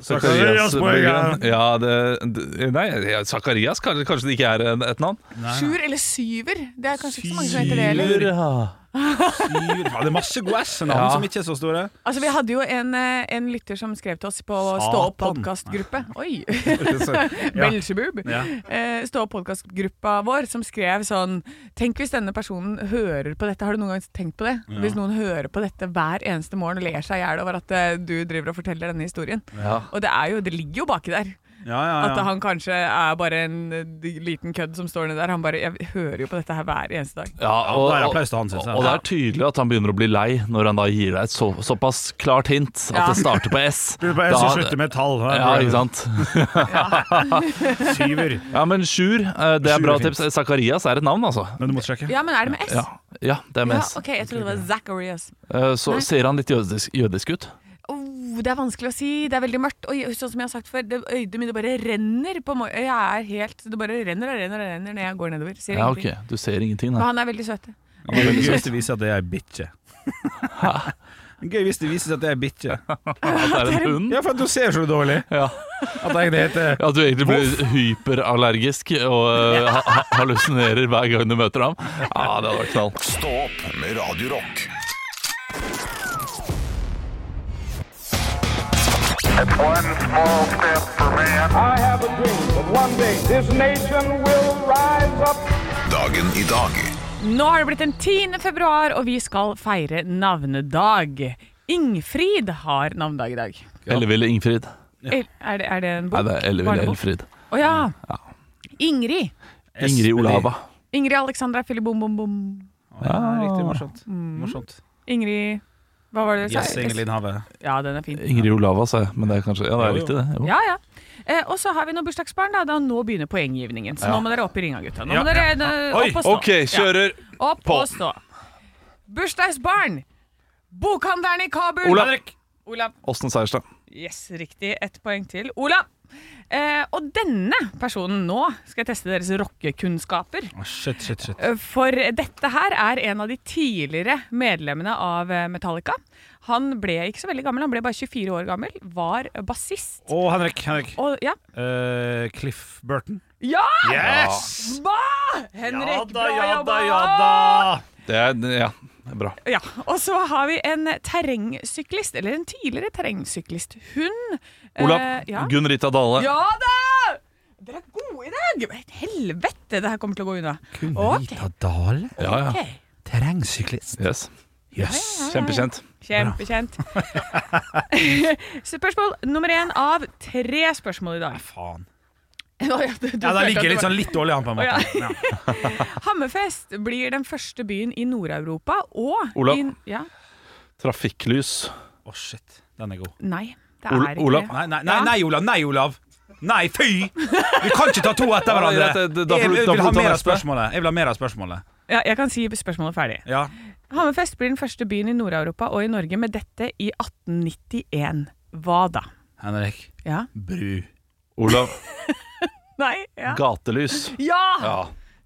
S1: Sakarias
S3: Bryggen.
S1: Bryggen. Ja, det, det Nei, ja, Sakarias kanskje, kanskje det ikke er en- et navn?
S2: Sjur eller syver. Det er kanskje ikke så mange som heter det heller.
S3: Eller-
S1: Ja.
S3: Syv. Ja, det er masse gode S-navn
S1: Ja.
S3: som ikke er så store.
S2: Altså, vi hadde jo en, eh, en lytter som skrev til oss på Stå opp
S3: Satan. <laughs>
S2: podkastgruppe. Oi!
S3: Så, ja.
S2: Belsjebub.
S3: Ja.
S2: Eh, Stå opp podkastgruppa vår som skrev sånn Tenk hvis denne personen hører på dette. Har du noen gang tenkt på det? Hvis noen hører på dette hver eneste morgen og ler seg i hjel over at eh, du driver og forteller denne historien. Og det, er jo, det ligger jo baki der.
S3: Ja, ja,
S2: At
S3: ja.
S2: han kanskje er bare en eh, liten kødd som står nedi der. Han bare Jeg hører jo på dette her hver eneste dag.
S1: Ja,
S3: da er det applaus til han, synes jeg.
S1: Og det er tydelig at han begynner å bli lei når han da gir deg et så, såpass klart hint at
S2: Ja.
S1: det starter på S.
S3: <laughs> Du bare
S1: Da-
S3: så slutter med et tall.
S1: ja, ikke sant?
S3: Syver.
S1: Ja, men Sjur, eh, det
S3: Sjur
S1: er bra
S3: er fint.
S1: tips. Sakarias er et navn, altså.
S3: Men du må sjekke.
S2: Ja, men er det med S?
S1: Ja, ja det er
S2: Ja,
S1: med S.
S2: ok, jeg trodde det var Zacharias.
S1: Eh, Så ser han litt jødisk, jødisk ut.
S2: Oh, det er vanskelig å si. Det er veldig mørkt. Og sånn som jeg har sagt før, det, øynene mine bare renner. På mor- jeg er helt, det bare renner og renner og renner når jeg går nedover. Ser
S1: Ja, ok,
S2: ingenting.
S1: Du ser ingenting,
S2: Men
S1: nei.
S2: han er veldig søt.
S3: Det er gøy hvis det viser at det er ei bikkje. Gøy hvis det viser seg at det er ei bikkje.
S1: At det er en hund.
S3: Ja, for at du ser så dårlig
S1: Ja.
S3: at jeg det heter
S1: At du egentlig blir hyperallergisk og eh, ha- ha- hallusinerer hver gang du møter ham. Ja, det hadde vært knall.
S4: Stå opp med Radio Rock.
S6: One small step for man. I have a dream that one day this nation will rise up.
S4: Dagen i dag.
S2: Nå har det blitt den 10. februar, og vi skal feire navnedag. Ingfrid har navnedag i dag.
S1: Elleville Ingfrid.
S2: El- Er, det, er det en bok?
S1: Nei, det er Elleville
S2: Barnebok?
S1: Elfrid.
S2: Å ja. Ingrid.
S1: Ingrid Olava.
S2: Ingrid Alexandra Filibom-bom-bom.
S3: Ja, riktig morsomt. morsomt.
S2: Ingrid Hva var det dere
S3: Yes,
S2: sa?
S3: Ingelin Have.
S2: Ja, den er fin.
S1: Ingrid Olava, sa jeg. Men det er kanskje Ja, det er
S3: Jo, jo.
S1: riktig, det. Jo.
S2: Ja, ja. Eh, og så har vi noen bursdagsbarn. Da. da nå begynner poenggivningen. Så nå må dere opp i ringa, gutta. Nå
S3: Ja,
S2: må dere
S3: ja.
S2: eh,
S1: Oi,
S2: opp og stå.
S1: OK, kjører
S2: Ja, opp
S1: på.
S2: og stå. Bursdagsbarn! Bokhandleren i Kabul.
S1: Olav.
S2: Olav.
S1: Åsten Seierstad.
S2: Yes, riktig. Ett poeng til. Olav. Eh, og denne personen nå skal jeg teste deres rockekunnskaper.
S3: Å, Ah, Shit, shit, shit.
S2: Eh, For dette her er en av de tidligere medlemmene av eh, Metallica. Han ble ikke så veldig gammel, han ble bare 24 år gammel. Var bassist.
S3: Å, Henrik. Henrik.
S2: Og ja.
S3: Eh, Cliff Burton.
S2: Ja!
S3: Yes!
S2: Hva?! Henrik,
S3: ja da,
S2: bra
S3: ja da,
S2: jobba!
S3: ja da!
S1: Det er Ja, det er bra.
S2: Ja, og så har vi en terrengsyklist, eller en tidligere terrengsyklist. Hun eh,
S1: Olav.
S2: ja.
S1: Gunn Rita Dale.
S2: ja da! Dere er gode i dag! Helvete, det her kommer til å gå unna. Ok,
S3: Dale?
S1: Ja, ja.
S2: ok.
S3: Terrengsyklist.
S1: Yes.
S3: Yes.
S1: Kjempekjent.
S2: Kjempekjent.
S3: <laughs>
S2: spørsmål nummer én av tre spørsmål i <laughs> dag.
S3: Ah, Faen.
S2: Å, ja, du- du
S3: Ja,
S2: følte
S3: da
S2: at
S3: ligger
S2: du
S3: jeg litt
S2: var-
S3: sånn litt dårlig an, på en måte. Ja.
S2: Hammerfest blir den første byen i Nord-Europa og
S1: Olav.
S2: i- ja,
S1: Trafikklys.
S3: Å, shit. Den er god.
S2: Nei, det er
S1: Ol-
S2: ikke
S1: Olav.
S2: det.
S3: Nei, nei, nei, nei, Olav. Nei, Olav. Nei, fy! Vi kan ikke ta to etter
S1: Ja,
S3: hverandre.
S1: det er greit, det- da får du- da
S3: jeg, jeg, vil
S1: får
S3: ha
S1: du ta
S3: mer av
S1: neste.
S3: spørsmålet. jeg vil ha mer av spørsmålet.
S2: Ja, jeg kan si spørsmålet ferdig.
S3: Ja.
S2: Hammerfest blir den første byen i Nord-Europa og i Norge med dette i 1891. Hva da?
S3: Henrik.
S2: Ja.
S3: Bru.
S1: Olav.
S2: Nei? <laughs> Ja!
S1: Gatelys.
S2: Ja!
S1: Ja.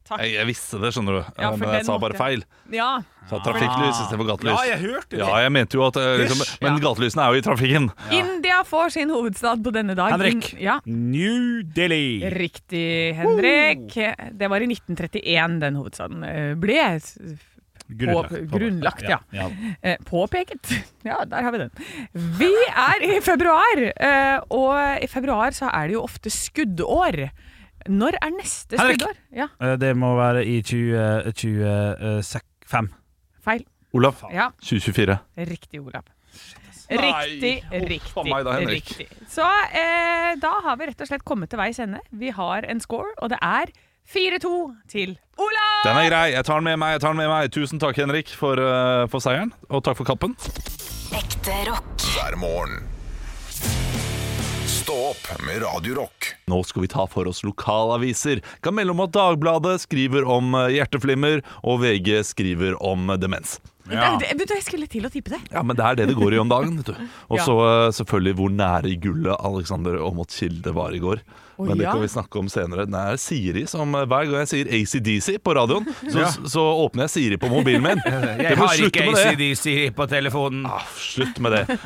S2: Takk.
S1: Jeg, jeg visste det, skjønner du.
S2: Ja, for
S1: men
S2: den
S1: jeg sa bare
S2: måtte-
S1: feil.
S2: ja.
S1: Så trafikklys istedenfor gatelys.
S3: Ja, jeg hørte det.
S1: Ja, jeg mente jo at eh, liksom,
S3: Hysj.
S1: Men gatelysene er jo i trafikken.
S2: India får sin hovedstad på denne dag.
S3: Henrik.
S2: In- Ja.
S3: New Delhi.
S2: Riktig, Henrik. Det var i 1931 den hovedstaden eh, ble s- på- grunnlagt, ja.
S3: ja.
S2: eh, påpeket. <laughs> Ja, der har vi den. Vi er i februar, eh, og i februar så er det jo ofte skuddår. Når er neste
S3: Henrik.
S2: skuddår? Ja,
S3: Eh, Det må være i eh, 2025.
S2: feil.
S1: Olav.
S2: Ja,
S1: 2024.
S2: riktig, Olav.
S1: Nei,
S2: Riktig,
S1: huff a
S2: riktig,
S1: meg da, Henrik.
S2: riktig. Så eh, da har vi rett og slett kommet til veis ende. Vi har en score, og det er 4-2 til Olav!
S1: Den er grei. Jeg tar den med meg. jeg tar den med meg Tusen takk, Henrik, for, eh, for seieren. Og takk for kappen.
S5: Ekte rock.
S4: hver morgen. Stå opp med Radio Rock.
S1: Nå skal vi ta for oss lokalaviser. Kan melde om at Dagbladet skriver om eh, hjerteflimmer, og VG skriver om eh, demens.
S3: Ja.
S2: Det- det- vet du, Jeg skulle til å tippe det.
S1: Ja, men det er det det går i om dagen.
S2: <laughs>
S1: vet du Og så eh, selvfølgelig hvor nære i gullet Alexander Aamodt Kilde var i går.
S2: Å,
S1: Men det
S2: ja.
S1: kan vi snakke om senere. Det er Siri som eh, hver gang jeg sier ACDC på radioen, så,
S3: Ja.
S1: så åpner jeg Siri på mobilen
S3: <laughs>
S1: min.
S3: Jeg
S1: Jeg
S3: har ikke ACDC på telefonen.
S1: Ah, slutt med det.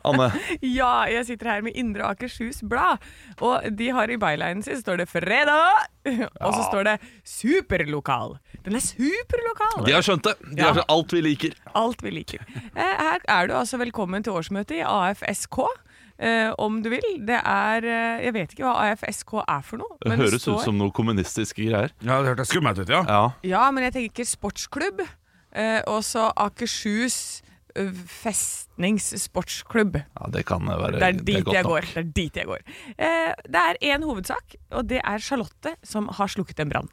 S1: Anne.
S2: Ja, jeg sitter her med Indre Akershus Blad, og de har i bylinen sin står det 'Fredag', og så står det 'Superlokal'. Den er
S1: De
S2: superlokal!
S1: har skjønt det. De
S2: Ja.
S1: har skjønt alt vi liker.
S2: Alt vi liker. Eh, Her er du altså velkommen til årsmøtet i AFSK. eh, om du vil. Det er eh, Jeg vet ikke hva AFSK er for noe.
S1: Det
S2: Men det
S1: høres ut
S2: står-
S1: som noe kommunistiske greier.
S3: Ja, det hørtes skummelt ut, ja.
S1: Ja.
S2: Ja, men jeg tenker sportsklubb. eh, og så Akershus eh, festnings sportsklubb.
S1: ja, det kan være
S2: Det er dit
S1: godt
S2: jeg
S1: nok.
S2: går. Det er dit jeg går. Eh, det er én hovedsak, og det er Charlotte som har slukket en brann.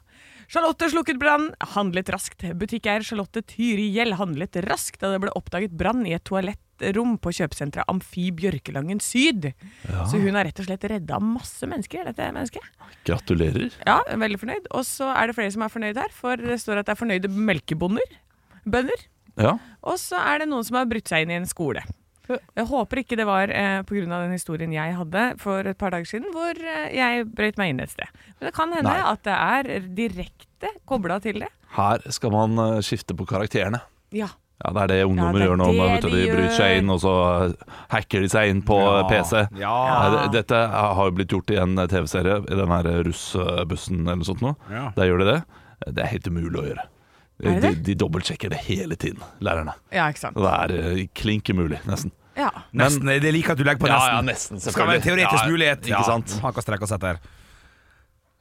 S2: Charlotte slukket brann, handlet raskt. Butikkeier Charlotte Tyri Gjell handlet raskt da det ble oppdaget brann i et toalettrom på kjøpesenteret Amfi Bjørkelangen Syd. Så hun har rett og slett redda masse mennesker, dette mennesket.
S1: Gratulerer.
S2: Ja, veldig fornøyd. Og så er det flere som er fornøyd her, for det står at det er fornøyde melkebonder. Bønder.
S1: Ja.
S2: Og så er det noen som har brutt seg inn i en skole. Jeg håper ikke det var eh, pga. den historien jeg hadde for et par dager siden, hvor eh, jeg brøt meg inn et sted. Men det kan hende
S1: Nei.
S2: at det er direkte kobla til det.
S1: Her skal man eh, skifte på karakterene.
S2: Ja.
S1: Ja, Det er det ungdommer
S2: Ja, det er
S1: gjør nå. man,
S2: det
S1: vet du,
S2: de
S1: de bryter seg
S2: gjør.
S1: inn, og så eh, hacker de seg inn på eh, PC.
S3: Ja.
S1: Nei, det- Dette har jo blitt gjort i en eh, TV-serie, i den her eh, russbussen eller noe sånt. Nå.
S3: Ja.
S1: Der gjør de det. Eh, Det er helt umulig å gjøre.
S2: Er det
S1: De,
S2: det?
S1: de dobbeltsjekker det hele tiden, lærerne.
S2: ja, ikke sant.
S1: Og det er eh, klink umulig, nesten.
S2: Ja.
S3: Nesten, det liker at du legger på nesten.
S1: nesten
S3: Skal være en teoretisk
S1: Ja,
S3: mulighet.
S1: Ikke sant?
S3: Haka strekk og sett her.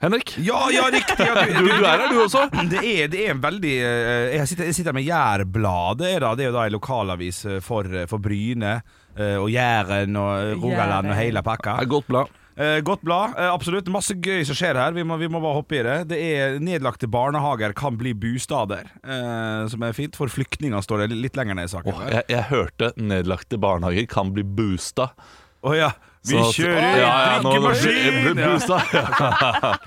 S1: Henrik,
S3: Ja, ja, riktig! Ja,
S1: du, du er her du også.
S3: Det er, det er en veldig eh, Jeg sitter, jeg sitter med Jærbladet. er da- Det er jo da en lokalavis eh, for, for Bryne eh, og Jæren og Rogaland og hele pakka.
S1: Det er godt blad.
S3: Eh, godt blad. Eh, absolutt. Masse gøy som skjer her. Vi må, vi må bare hoppe i det. Det er Nedlagte barnehager kan bli bustader, eh, som er fint. For flyktninger står det litt lenger ned i saken.
S1: Åh,
S3: her.
S1: jeg, jeg hørte nedlagte barnehager kan bli boosta.
S3: Å ja. Vi
S1: Så at- Ja,
S3: kjører
S1: ja, nå- nå-
S3: drikkemaskin!
S1: blir
S3: Ja.
S1: Boosta.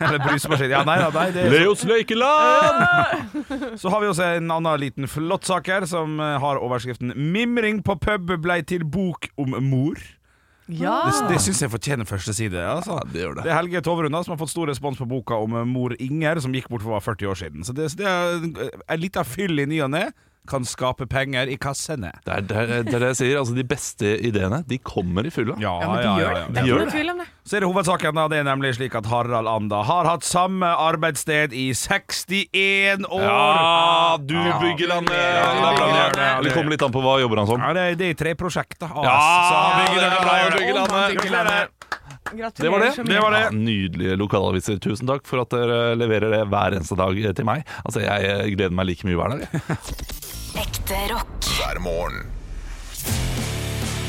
S3: Eller brusemaskin. Ja, nei, ja, nei, det er
S1: Leos lekeland!
S3: Så har vi også en annen liten flott sak her, som eh, har overskriften 'Mimring på pub blei til bok om mor'.
S7: Ja.
S3: Det, det syns jeg fortjener første side. Altså.
S1: Ah. Ja, det gjør det.
S3: Det er Helge Toverunda som har fått stor respons på boka om eh, mor Inger, som gikk bort for hva, 40 år siden. Så det, så det er en- en liten fyll i ny og ne kan skape penger i kassene.
S1: Det er det, er- det er det jeg sier. Altså, de beste ideene de kommer i fylla.
S7: Ja, men de gjør det. Det er
S1: gjør
S7: ikke noe
S1: det.
S7: tvil om det.
S3: Så er det hovedsaken. da, Det er nemlig slik at Harald Anda har hatt samme arbeidssted i 61 år.
S1: Ja, du bygger landet! Det er bra, det er det. Det kommer litt an på hva jobber han som.
S3: Ja, Ah, det, er- det er tre prosjekter. AS,
S1: Ja,
S3: så han bygger
S1: det er bra,
S3: landet.
S1: bygger landet.
S3: Om han bygger landet.
S1: Det var det.
S7: så mye.
S3: Det var det.
S1: Ja, nydelige lokalaviser. Tusen takk for at dere leverer det hver eneste dag eh, til meg. Altså, Jeg eh, gleder meg like mye hver dag.
S5: Ekte rock.
S4: hver morgen.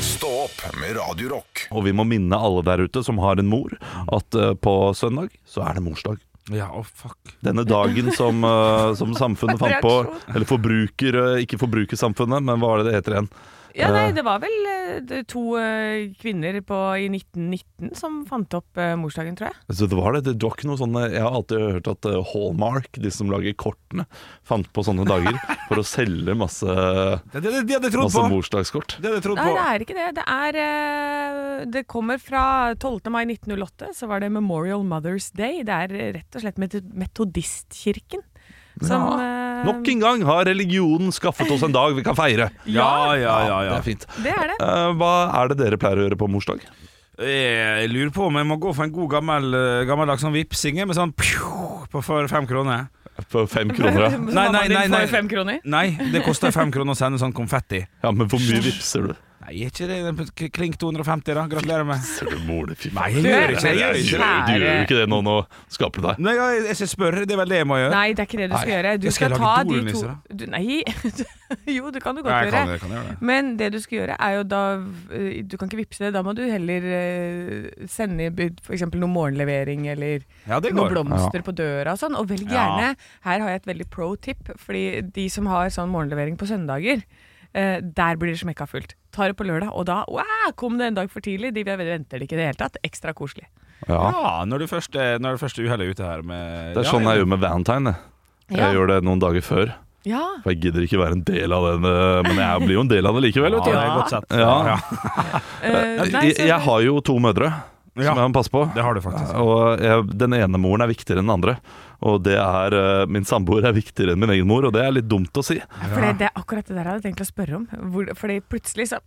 S4: Stå opp med Radio Rock.
S1: Og vi må minne alle der ute som har en mor, at eh, på søndag så er det morsdag.
S3: Ja, å fuck.
S1: Denne dagen som, eh, som samfunnet fant på
S2: Reaksjon.
S1: Eller forbruker, eh, ikke forbrukersamfunnet, men hva er det det heter igjen?
S2: Ja, nei, det var vel eh, det- to eh, kvinner på, i 1919 som fant opp eh, morsdagen, tror jeg.
S1: Så det var det, det var ikke noe sånn eh, Jeg har alltid hørt at eh, Hallmark, de som lager kortene, fant på sånne dager for å selge masse,
S3: Det, det, det, de hadde jeg trodd på.
S1: masse morsdagskort.
S3: Det hadde jeg trodd
S2: Nei,
S3: på.
S2: det er ikke det. Det, er, eh, det kommer fra 12. mai 1908, så var det Memorial Mothers Day. Det er eh, rett og slett meto- metodistkirken som eh,
S1: Nok en gang har religionen skaffet oss en dag vi kan feire.
S3: Ja, ja, ja,
S1: Det
S3: ja.
S1: er fint.
S2: Det er det.
S1: Eh, Hva er det dere pleier å gjøre på morsdag?
S3: Jeg lurer på om jeg må gå for en god gammel, eh, gammeldags sånn vipsinge med sånn pju, på for fem kroner.
S1: For fem
S3: <laughs>
S1: kroner, ja.
S2: Så
S3: Nei, nei,
S2: mammaen din
S3: nei,
S2: får
S3: nei.
S2: fem kroner.
S3: Nei, det koster fem kroner å sende sånn konfetti.
S1: ja men hvor mye vipser du?
S3: Nei, er ikke det k- klink 250, da? Gratulerer med.
S1: Ser du mor di, fy faen.
S3: Nei, jeg gjør ikke det.
S1: Nei,
S3: Jeg gjør
S1: du
S3: ikke det.
S1: gjør- Du gjør jo ikke det nå, nå skaper du deg.
S3: Nei, jeg, jeg skal spørre. Det er vel det jeg må gjøre.
S2: Nei, det er ikke det du skal
S3: Nei,
S2: gjøre. Du
S3: jeg skal
S2: skal,
S3: lage
S2: ta de to
S3: dolenisse,
S2: du, Nei, <laughs> jo, det kan du godt
S3: Nei,
S2: gjøre.
S3: jeg kan, jeg kan gjøre det.
S2: Men det du skal gjøre er jo da eh, Du kan ikke vippse det, da må du heller eh, sende f.eks. noe morgenlevering eller
S3: Ja, det
S2: noen
S3: går.
S2: blomster på døra og sånn. Og velg
S3: Ja.
S2: gjerne Her har jeg et veldig pro tip, fordi de som har sånn morgenlevering på søndager eh, der blir det smekka fullt. Ta det på lørdag, og da wow, kom det en dag for tidlig. De venter det ikke i det hele tatt. Ekstra koselig.
S1: Ja.
S3: Ja, når det første, når det første uhellet er ute her med
S1: Det er sånn jeg gjør med Valentine. Jeg
S2: Ja.
S1: gjør det noen dager før,
S2: Ja.
S1: for jeg gidder ikke være en del av den, eh, men jeg blir jo en del av det likevel, vet
S3: Ja,
S1: du.
S3: det er godt sett.
S1: Ja.
S3: Ja,
S2: eh, nei,
S1: Jeg,
S2: så-
S1: jeg har jo to mødre
S3: Ja.
S1: som jeg må passe på.
S3: Det har du faktisk.
S1: Og jeg, den ene moren er viktigere enn den andre. Og det er eh, Min samboer er viktigere enn min egen mor, og det er litt dumt å si.
S2: For det, det er akkurat det der jeg hadde tenkt å spørre om. Hvor, fordi plutselig så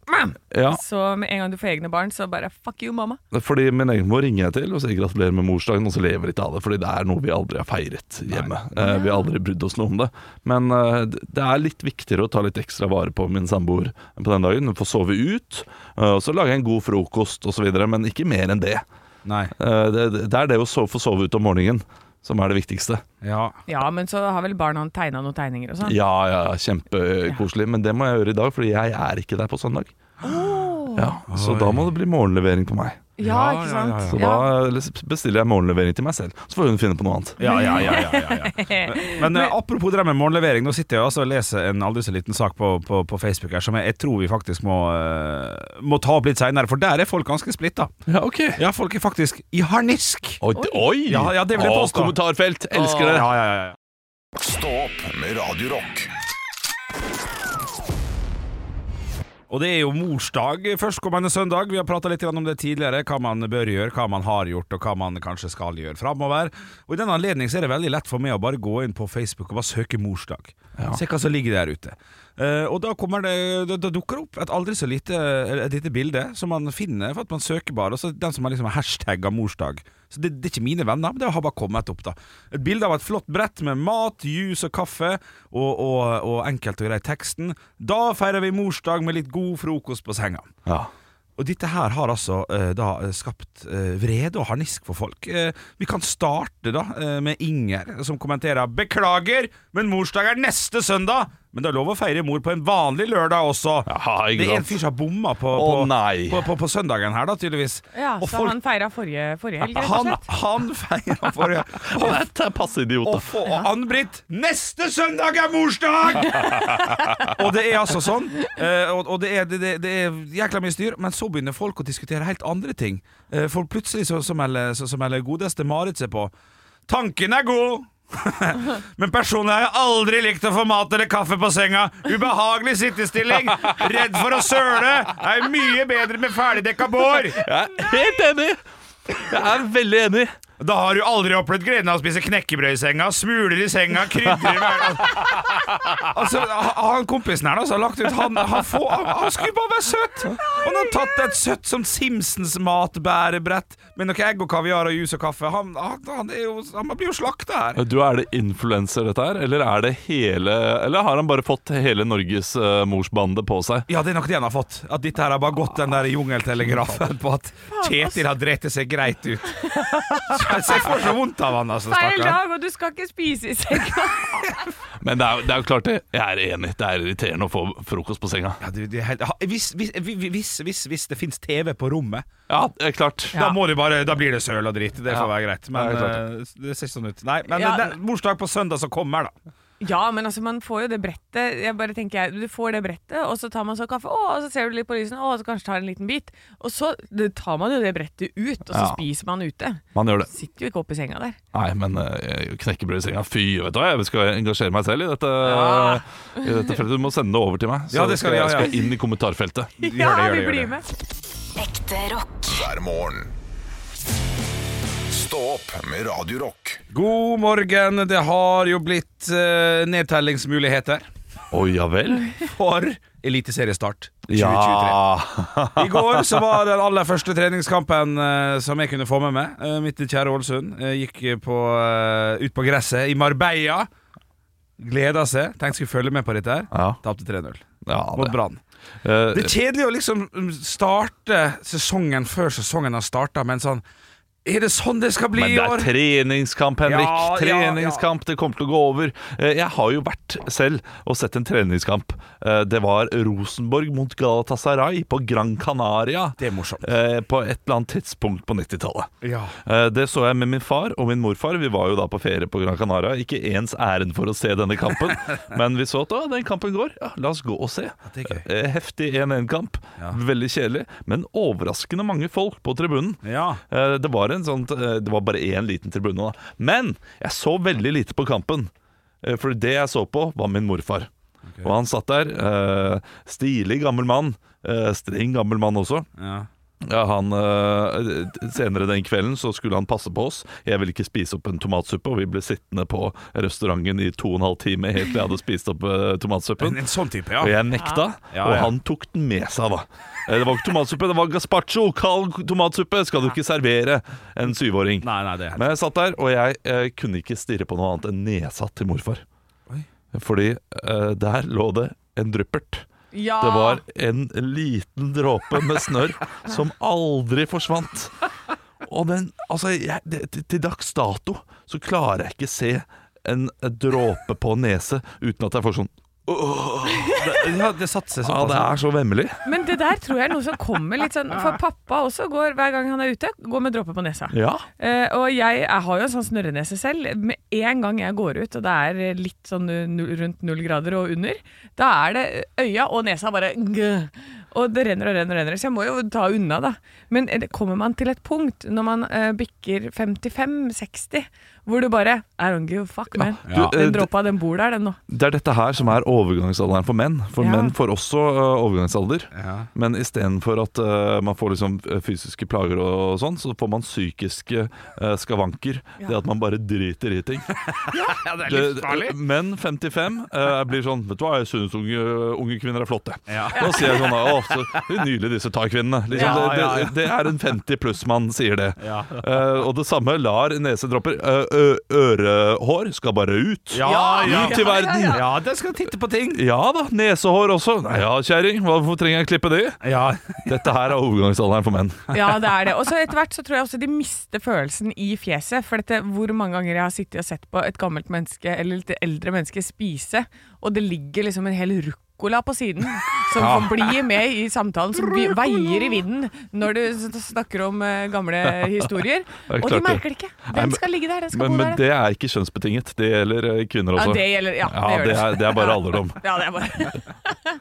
S1: Ja,
S2: Så med en gang du får egne barn, så bare fuck you, mamma.
S1: fordi Min egen mor ringer jeg til og sier gratulerer med morsdagen, og så lever jeg ikke av det. Fordi det er noe vi aldri har feiret hjemme. Eh, vi har aldri brydd oss noe om det. Men eh, det er litt viktigere å ta litt ekstra vare på min samboer på den dagen. Hun får sove ut, eh, og så lager jeg en god frokost osv., men ikke mer enn det.
S3: Nei.
S1: Eh, det, det er det å sove, få sove ut om morgenen som er det viktigste.
S3: Ja.
S2: Ja, men så har vel barna tegna noen tegninger og sånn.
S1: Ja, ja, kjempekoselig. Men det må jeg gjøre i dag, fordi jeg er ikke der på søndag. Ja, så da må det bli morgenlevering på meg.
S2: Ja,
S3: Ja,
S2: ikke
S3: ja,
S2: sant?
S3: ja, ja.
S1: Så da eh, bestiller jeg morgenlevering til meg selv. Så får hun finne på noe annet.
S3: Ja, ja, ja, ja, ja,
S1: <laughs>
S3: ja. Men eh, apropos det der med morgenlevering, nå sitter jeg altså og leser en aldri så liten sak på, på, på Facebook her som jeg, jeg tror vi faktisk må, eh, må ta opp litt seinere, for der er folk ganske splitta.
S1: Ja, ok.
S3: Ja, folk er faktisk i harnisk!
S1: Oi! oi.
S3: Ja, ja, det vil jeg
S1: Å,
S3: påstå.
S1: kommentarfelt! Elsker det.
S3: Ja, ja, ja, ja.
S4: Stå opp med Radio Rock.
S3: Og det er jo morsdag førstkommende søndag. Vi har prata litt grann om det tidligere. Hva man bør gjøre, hva man har gjort, og hva man kanskje skal gjøre framover. Og I den anledning så er det veldig lett for meg å bare gå inn på Facebook og bare søke morsdag. Se hva som ligger der ute. Eh, og da, kommer det, da, da dukker det opp et aldri så lite, et lite bilde som man finner for at man søker bare. Og så den som har liksom hashtagga morsdag. Så det, det er ikke mine venner, men det har bare kommet opp. da Et bilde av et flott brett med mat, juice og kaffe, og, og, og enkelt og greit teksten 'Da feirer vi morsdag med litt god frokost på senga'.
S1: Ja.
S3: Og dette her har altså eh, da eh, skapt eh, vrede og harnisk for folk. Eh, vi kan starte da eh, med Inger, som kommenterer 'Beklager, men morsdag er neste søndag'. Men det er lov å feire mor på en vanlig lørdag også.
S1: Jaha, ikke
S3: det er en
S1: sant.
S3: fyr som har bomma på,
S1: Å,
S3: på,
S1: nei.
S3: på, på, på søndagen her, da, tydeligvis.
S8: Ja,
S3: Og
S8: så
S3: folk-
S8: han feira forrige, forrige helg, rett og
S3: han,
S8: slett.
S3: han feira forrige
S1: <laughs> Han er et eh, passe idiot,
S3: Og,
S1: da.
S3: få- og Ann-Britt, neste søndag er morsdag! <laughs> og det er altså sånn. eh, og og det, er, det, det- det er jækla mye styr, men så begynner folk å diskutere helt andre ting. Eh, for plutselig så, så, melder, så, så melder godeste Marit seg på. Tanken er god! <laughs> Men personlig har jeg aldri likt å få mat eller kaffe på senga. Ubehagelig sittestilling. Redd for å søle. Er mye bedre med ferdigdekka bår.
S1: Jeg er helt enig! Jeg er veldig enig.
S3: Da har du aldri opplevd gleden av å spise knekkebrød i senga, smuler i senga, krydder i hverdagen Altså, ha- han kompisen her da, som har lagt ut Han, han, får, han, han skulle bare være søt! Og han har tatt et søtt som Simpsons matbærebrett med noe egg og kaviar og jus og kaffe. Han, han, han, er jo, han blir jo slakta her.
S1: Eh, Du, Er det influenser, dette her? Eller er det hele Eller har han bare fått hele Norges eh, morsbande på seg?
S3: Ja, det er nok det han har fått. At dette her har bare gått den der jungeltelegrafen på at Kjetil har drept seg greit ut. Så jeg får så vondt av han, altså,
S8: Feil
S3: stakkar.
S8: dag, og du skal ikke spise i senga. <laughs>
S1: Men det er, det er jo klart, det. Jeg er enig. Det er irriterende å få frokost på senga.
S3: Ja, du, det er helt, ha- hvis, hvis, hvis, hvis, hvis det finnes TV på rommet
S1: Ja, det er klart.
S3: Da, må det bare, da blir det søl og dritt. Det får være greit.
S1: Ja,
S3: Men
S1: det er klart
S3: eh, det ser sånn ut. Nei, men
S8: Ja.
S3: det er morsdag på søndag som kommer, da.
S8: Ja, men altså, man får jo det brettet. Jeg bare tenker, jeg, Du får det brettet, og så tar man så kaffe, å, og så ser du litt på lysen, å, og så kanskje tar en liten bit. Og så det, tar man jo det brettet ut, og så
S1: Ja.
S8: spiser man ute.
S1: Man gjør det.
S8: Sitter jo ikke oppi senga der.
S1: Nei, men eh, knekkebrød i senga Fy, vet du hva, jeg skal engasjere meg selv i dette, i dette feltet. Du må sende det over til meg, så
S3: Ja, det skal
S1: skal,
S3: jeg,
S1: jeg
S3: ja.
S1: skal inn i kommentarfeltet.
S8: ja,
S3: gjør det,
S8: vi
S3: gjør det.
S8: blir med.
S5: Ekte rock.
S4: hver morgen. Stå opp med Radio Rock.
S3: God morgen. Det har jo blitt eh, nedtellingsmuligheter
S1: Å ja vel?
S3: for eliteseriestart 2023.
S1: Ja.
S3: I går så var den aller første treningskampen eh, som jeg kunne få med meg. Eh, mitt kjære Ålesund eh, gikk på, eh, ut på gresset i Marbella. Gleda seg. Tenkte skulle følge med på dette her.
S1: Ja.
S3: Tapte 3-0
S1: ja
S3: mot
S1: det.
S3: Brann.
S1: Eh,
S3: Det er kjedelig å liksom mm, starte sesongen før sesongen har starta, men sånn Er det sånn det skal bli
S1: Men
S3: i
S1: det er
S3: år?
S1: treningskamp, Henrik.
S3: Ja, ja, ja.
S1: treningskamp, Det kommer til å gå over. Eh, Jeg har jo vært selv og sett en treningskamp. Eh, Det var Rosenborg mot Galatasaray på Gran Canaria.
S3: Det er morsomt.
S1: eh, På et eller annet tidspunkt på 90-tallet.
S3: Ja.
S1: Eh, Det så jeg med min far og min morfar. Vi var jo da på ferie på Gran Canaria. Ikke ens ærend for å se denne
S3: <laughs>
S1: kampen, men vi så at «Å, den kampen går. Ja, la oss gå og se.
S3: det er gøy.
S1: Eh, Heftig 1-1-kamp. Veldig kjedelig, men overraskende mange folk på tribunen.
S3: Ja.
S1: Eh, Det var, en sånn, eh, det var bare én liten tribune da. Men jeg så veldig lite på kampen. Eh, For det jeg så på, var min morfar. Og han satt der. eh, Stilig gammel mann. eh, Streng gammel mann også.
S3: ja.
S1: Ja, han, eh, senere den kvelden så skulle han passe på oss. Jeg ville ikke spise opp en tomatsuppe, og vi ble sittende på restauranten i to og en halv time helt til jeg hadde spist opp eh,
S3: En,
S1: tomatsuppen.
S3: en sånn type,
S1: Og
S3: ja.
S1: jeg nekta,
S3: Ja,
S1: og
S3: ja.
S1: han tok den med seg, da. Eh, Det var ikke tomatsuppe, det var gazpacho! Kald tomatsuppe skal du ikke servere en syvåring.
S3: Nei, nei, det er helt
S1: Men jeg satt der, og jeg eh, kunne ikke stirre på noe annet enn nesa til morfar. Fordi eh, der lå det en dryppert.
S8: Ja.
S1: Det var
S3: Ah.
S1: en liten dråpe med snørr som aldri forsvant. Og den Altså, jeg, det, til- til dags dato så klarer jeg ikke se en dråpe på nese uten at jeg får sånn
S3: det, ja, det satte
S1: Ja,
S3: seg såpass.
S1: det er så vemmelig.
S8: Men det der tror jeg er noe som kommer litt sånn For pappa også går, hver gang han er ute, går med dråper på nesa.
S1: Ja.
S8: Eh, og jeg, jeg har jo en sånn snørrenese selv. Med en gang jeg går ut, og det er litt sånn eh, null, rundt null grader og under, da er det øya og nesa bare gø. Og det renner og renner og renner, så jeg må jo ta unna, da. Men eh, det kommer man til et punkt når man eh, bikker 55-60, hvor du bare I don't give a fuck, man.
S1: Ja. Du, eh,
S8: Den dråpa, den bor der, den nå.
S1: Det er dette her som er overgangsalderen for menn. For
S8: Ja.
S1: menn får også ø, overgangsalder.
S3: Ja.
S1: Men istedenfor at ø, man får liksom ø, fysiske plager og, og sånn, så får man psykiske ø, skavanker. Det at man bare driter i ting.
S3: Ja, det er
S1: Det- eh,
S3: livsfarlig.
S1: menn 55 ø, blir sånn Vet du hva, jeg syns unge, unge kvinner er flotte.
S3: Ja.
S1: Nå sier jeg sånn Å, ofte det er Nydelig, disse thaikvinnene. Liksom,
S3: Ja,
S1: det,
S3: ja, ja.
S1: det, det er en 50 pluss-mann sier det.
S3: Ja.
S1: Eh, og det samme lar nesedropper. Eh, ø- ørehår skal bare ut.
S3: Ja, ja,
S1: Ut i verden!
S3: ja, det skal titte på ting.
S1: Ja da, nesehår også. Nei, ja, kjerring, hvorfor trenger jeg klippe det?
S3: Ja,
S1: Dette her er overgangsalderen for menn.
S2: Ja, det er det. Og så etter hvert så tror jeg også de mister følelsen i fjeset. For dette, hvor mange ganger jeg har sittet og sett på et gammelt menneske eller et eldre menneske spise, og det ligger liksom en hel ruccola på siden som får bli med i samtalen, som vi- veier i vinden når du s- snakker om eh, gamle
S1: <laughs>
S2: historier.
S1: er
S2: Og de
S1: klart det.
S2: merker det ikke.
S1: Nei, men-
S2: Den skal ligge der, den skal
S1: Men,
S2: bo
S1: men
S2: der.
S1: det er ikke kjønnsbetinget. Det gjelder eh, kvinner
S2: ja,
S1: også.
S2: det gjelder. Ja, det,
S1: Ja,
S2: gjør
S1: det er, det er bare alderdom.
S2: Ja, det er bare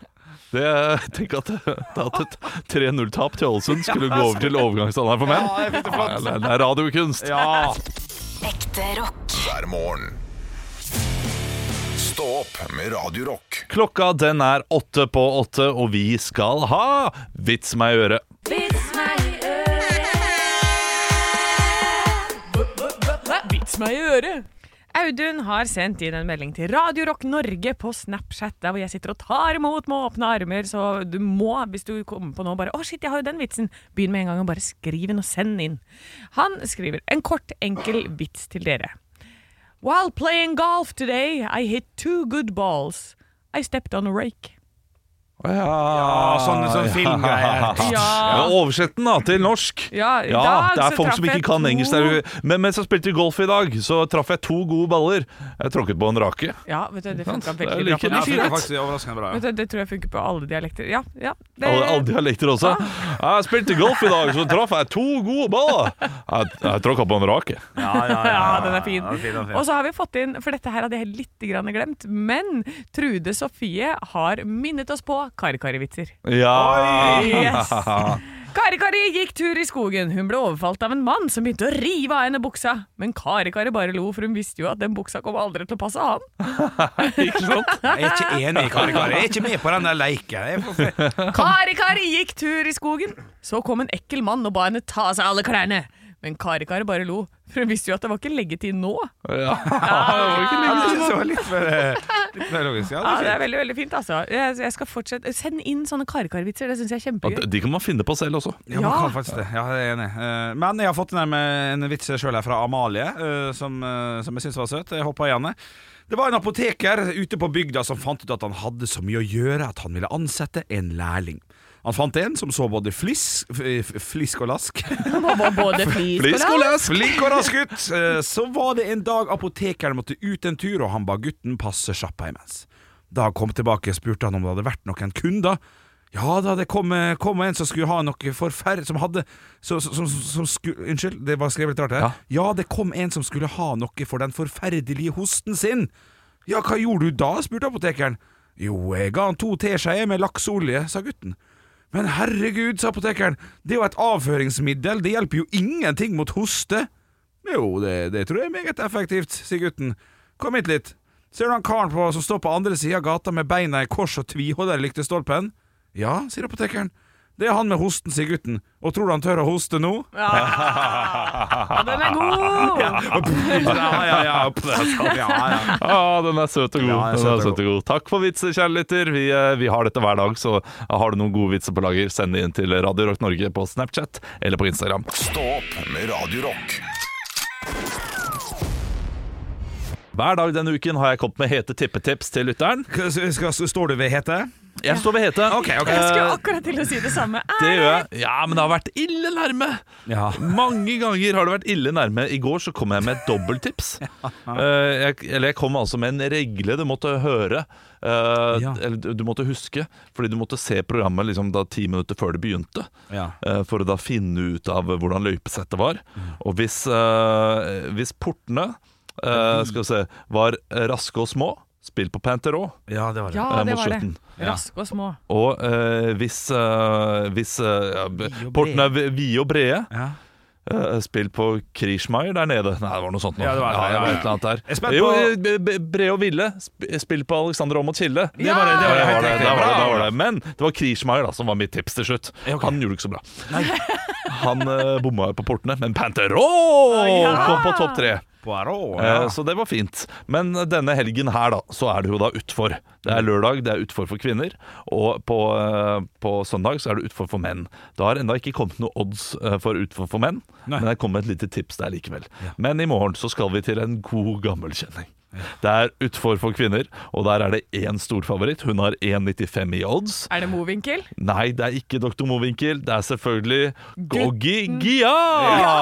S1: Det, tenk at, at et 3-0-tap til Ålesund skulle gå over til overgangsalderen for menn. Ja, det er- det er radiokunst.
S3: ja.
S5: Ekte rock.
S4: hver morgen. Stå opp med Radio Rock.
S1: Klokka den er åtte på åtte, og vi skal ha Vits meg i øret.
S2: Vits meg i øret! Audun har sendt inn en melding til Radio Rock Norge på Snapchat, der hvor jeg sitter og tar imot med åpne armer, så du må, hvis du kommer på noe, bare 'Å, shit, jeg har jo den vitsen', begynn med en gang og bare skriv den og send den inn. Han skriver en kort, enkel vits til dere. While playing golf today, I hit two good balls. I stepped on a rake.
S1: Ja,
S3: sånne- sånne filmgreier.
S1: Ja. Oversett den da, til norsk.
S2: Ja, i
S1: ja
S2: dag
S1: det er
S2: så
S1: folk
S2: traff
S1: som ikke
S2: jeg
S1: kan
S2: to-
S1: engelsk. der. Men mens jeg spilte golf i dag, så traff jeg to gode baller. Jeg tråkket på en rake.
S2: Ja, vet du, det funka
S1: Det er
S2: veldig bra.
S1: like-
S2: på
S1: det
S3: Ja,
S2: norsk.
S1: er
S3: det er faktisk overraskende bra.
S2: Vet du, det tror jeg funker på alle dialekter. Ja, ja. Det,
S1: Alle, alle dialekter også.
S2: Ah.
S1: Jeg spilte golf i dag, så traff jeg to gode baller. Jeg, jeg tråkka på en rake.
S3: Ja,
S2: <laughs> Ja, den er fin.
S3: den er fin.
S2: Og så har vi fått inn, for dette her hadde jeg litt grann glemt, men Trude Sofie har minnet oss på karikaривitser.
S1: Ja.
S2: Yes! Kari-Kari gikk tur i skogen. Hun ble overfalt av en mann som begynte å rive av henne buksa. Men Kari-Kari bare lo, for hun visste jo at den buksa kom aldri til å passe han.
S1: Ikke sant?
S3: Jeg er ikke enig i Kari Kari. Jeg er ikke med på den der leiken. Jeg får se.
S2: Kari-Kari gikk tur i skogen. Så kom en ekkel mann og ba henne ta av seg alle klærne. Men Kari-Kari bare lo, for hun visste jo at det var ikke leggetid nå.
S1: Ja.
S3: Ja, <laughs> det synes jeg var litt mer, litt mer logisk. Ja,
S2: Ja,
S3: det
S2: Det
S3: er
S2: er veldig veldig fint, altså. Jeg, jeg skal fortsette. Send inn sånne Kari-Kari-vitser, det syns jeg er kjempegøy.
S1: De kan man finne på selv også.
S3: Ja, man
S2: Ja.
S3: kan faktisk det. Ja, jeg er enig. Eh, Men jeg har fått den her med en vits sjøl her fra Amalie, eh, som, eh, som jeg syns var søt. Jeg hoppa i henne. Det var en apoteker ute på bygda som fant ut at han hadde så mye å gjøre at han ville ansette en lærling. Han fant en som så både fliss, f- flisk og lask.
S2: Både
S1: Flisk og lask!
S3: Flink og rask gutt! Eh, Så var det en dag apotekeren måtte ut en tur, og han ba gutten passe sjappa imens. Da han kom tilbake, spurte han om det hadde vært noen kunder. Ja da, det kom, eh, kom en som skulle ha noe forferd... Som hadde som, som, som, som skulle, Unnskyld, det var skrevet litt rart her.
S1: Ja.
S3: Ja. det kom en som skulle ha noe for den forferdelige hosten sin. Ja, hva gjorde du da? spurte apotekeren. Jo, jeg ga han to teskjeer med laksolje, sa gutten. Men herregud, sa apotekeren, det er jo et avføringsmiddel, det hjelper jo ingenting mot hoste. Jo, det, det tror jeg er meget effektivt, sier gutten. Kom hit litt. Ser du han karen på som står på andre sida av gata med beina i kors og tviholder i lyktestolpen? Ja, sier apotekeren. Det er han med hosten, sier gutten. Og tror du han tør å hoste nå?
S2: Ja, den er god!
S3: Ja, ja, ja. ja, ja.
S1: Ja, den er søt og god.
S3: Ja, den er
S1: den
S3: søt
S1: er
S3: og
S1: søt og god. Takk for vitser, kjære lytter. Vi, eh, vi har dette hver dag, så har du noen gode vitser på lager, send det inn til Radio Rock Norge på Snapchat eller på Instagram.
S4: Stå opp med Radio Rock.
S1: Hver dag denne uken har jeg kommet med hete tippetips til lytteren.
S3: Hva- Skal, står du ved hete?
S1: Jeg står ved hete.
S2: Jeg skulle
S1: Eh,
S2: akkurat til å si det samme. Ah,
S1: det gjør jeg. Ja, men det har vært ille nærme.
S3: Ja.
S1: Mange ganger har det vært ille nærme. I går så kom jeg med et
S3: <laughs>
S1: dobbelttips. Eh, jeg, eller jeg kom altså med en regle du måtte høre. eh,
S3: Ja.
S1: Eller du du måtte huske, fordi du måtte se programmet liksom, da, ti minutter før det begynte.
S3: Ja.
S1: eh, for å da finne ut av hvordan løypesettet var.
S3: Mm.
S1: Og hvis, eh, hvis portene
S3: Mm.
S1: eh, skal vi se, var raske og små, spill på Panterå
S3: ja, det var det.
S2: Ja,
S1: eh,
S2: det
S1: mot
S2: var det.
S1: slutten.
S3: Ja.
S2: Raske og små.
S1: Og eh, hvis, eh, hvis eh, ja, b-
S3: Vide og
S1: portene er vi- vide og brede,
S3: Ja.
S1: eh, spill på Kriegsmeier der nede. Nei, det var noe sånt. nå.
S3: Ja, det var det, ja, ja.
S1: et eller annet der.
S3: Jeg er spent
S1: Jo,
S3: på-
S1: eh, b- b- brede og ville, sp- spill på Alexander Aam og Kilde.
S3: Det var det. det, var det.
S1: Det var
S3: Helt
S1: det,
S3: riktig.
S1: det, var det,
S3: Bra.
S1: det var det. Men det var Kriegsmeier da, som var mitt tips til slutt. Han gjorde det ikke så bra. Han eh, bomma jo på portene, men Panterå kom på topp tre.
S3: Poirot.
S1: Eh,
S3: Ja.
S1: Så det var fint. Men denne helgen her, da, så er det jo da utfor. Det
S3: Mm.
S1: er lørdag, det er utfor for kvinner. Og på, eh, på søndag så er det utfor for menn. Det har ennå ikke kommet noe odds eh, for utfor for menn,
S3: Nei.
S1: men det kom et lite tips der likevel. Men i morgen så skal vi til en god gammel kjenning. Det er utfor for kvinner, og der er det én storfavoritt. Hun har 1,95 i odds.
S2: Er det movinkel?
S1: Nei, det er ikke Dr. Movinkel. Det er selvfølgelig Goggi
S3: Mm.
S1: Gia!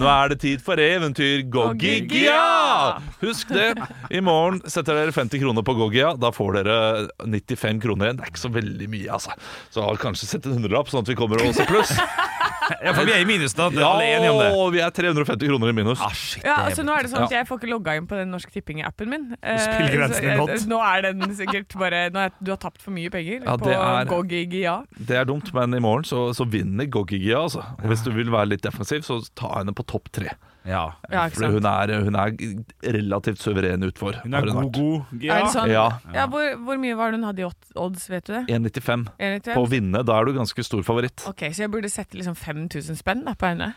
S1: Nå er det tid for eventyr Goggi
S2: Goggi
S1: Gia!
S2: Gia!
S1: Husk det. I morgen setter dere 50 kroner på Goggia. Da får dere 95 kroner igjen. Det er ikke så veldig mye, altså. Så kanskje sett en hundrelapp, sånn at vi kommer oss i pluss.
S3: ja, for <laughs> vi er i minus, da.
S1: Ja,
S3: Alle er enige om det.
S1: og vi er 350 kroner i minus.
S3: shit,
S2: Ja, altså nå er det sånn at
S1: Ja.
S2: Jeg får ikke logga inn på den Norsk Tipping-appen min. Eh,
S3: Spillgrensen
S2: så,
S3: din
S2: eh,
S3: nådd.
S2: Nå er den sikkert bare nå er, Du har tapt for mye penger
S1: Ja,
S2: på
S1: det er-
S2: GoGigia.
S1: Det er dumt, men i morgen så, så vinner Goggi Gia, altså. Og hvis du vil være litt defensiv, så ta henne på topp tre.
S3: ja.
S2: Ja, ikke
S1: For
S2: sant?
S1: hun er, hun er relativt suveren utfor.
S3: Hun er
S1: har vært.
S3: god-god.
S2: Er det sånn?
S1: Ja.
S2: Ja, hvor, hvor mye var det hun hadde i odd- odds, vet du det?
S1: 1,95.
S2: Er det ikke?
S1: På å vinne, da er du ganske stor favoritt.
S2: Ok, Så jeg burde sette liksom 5000 spenn da, på henne?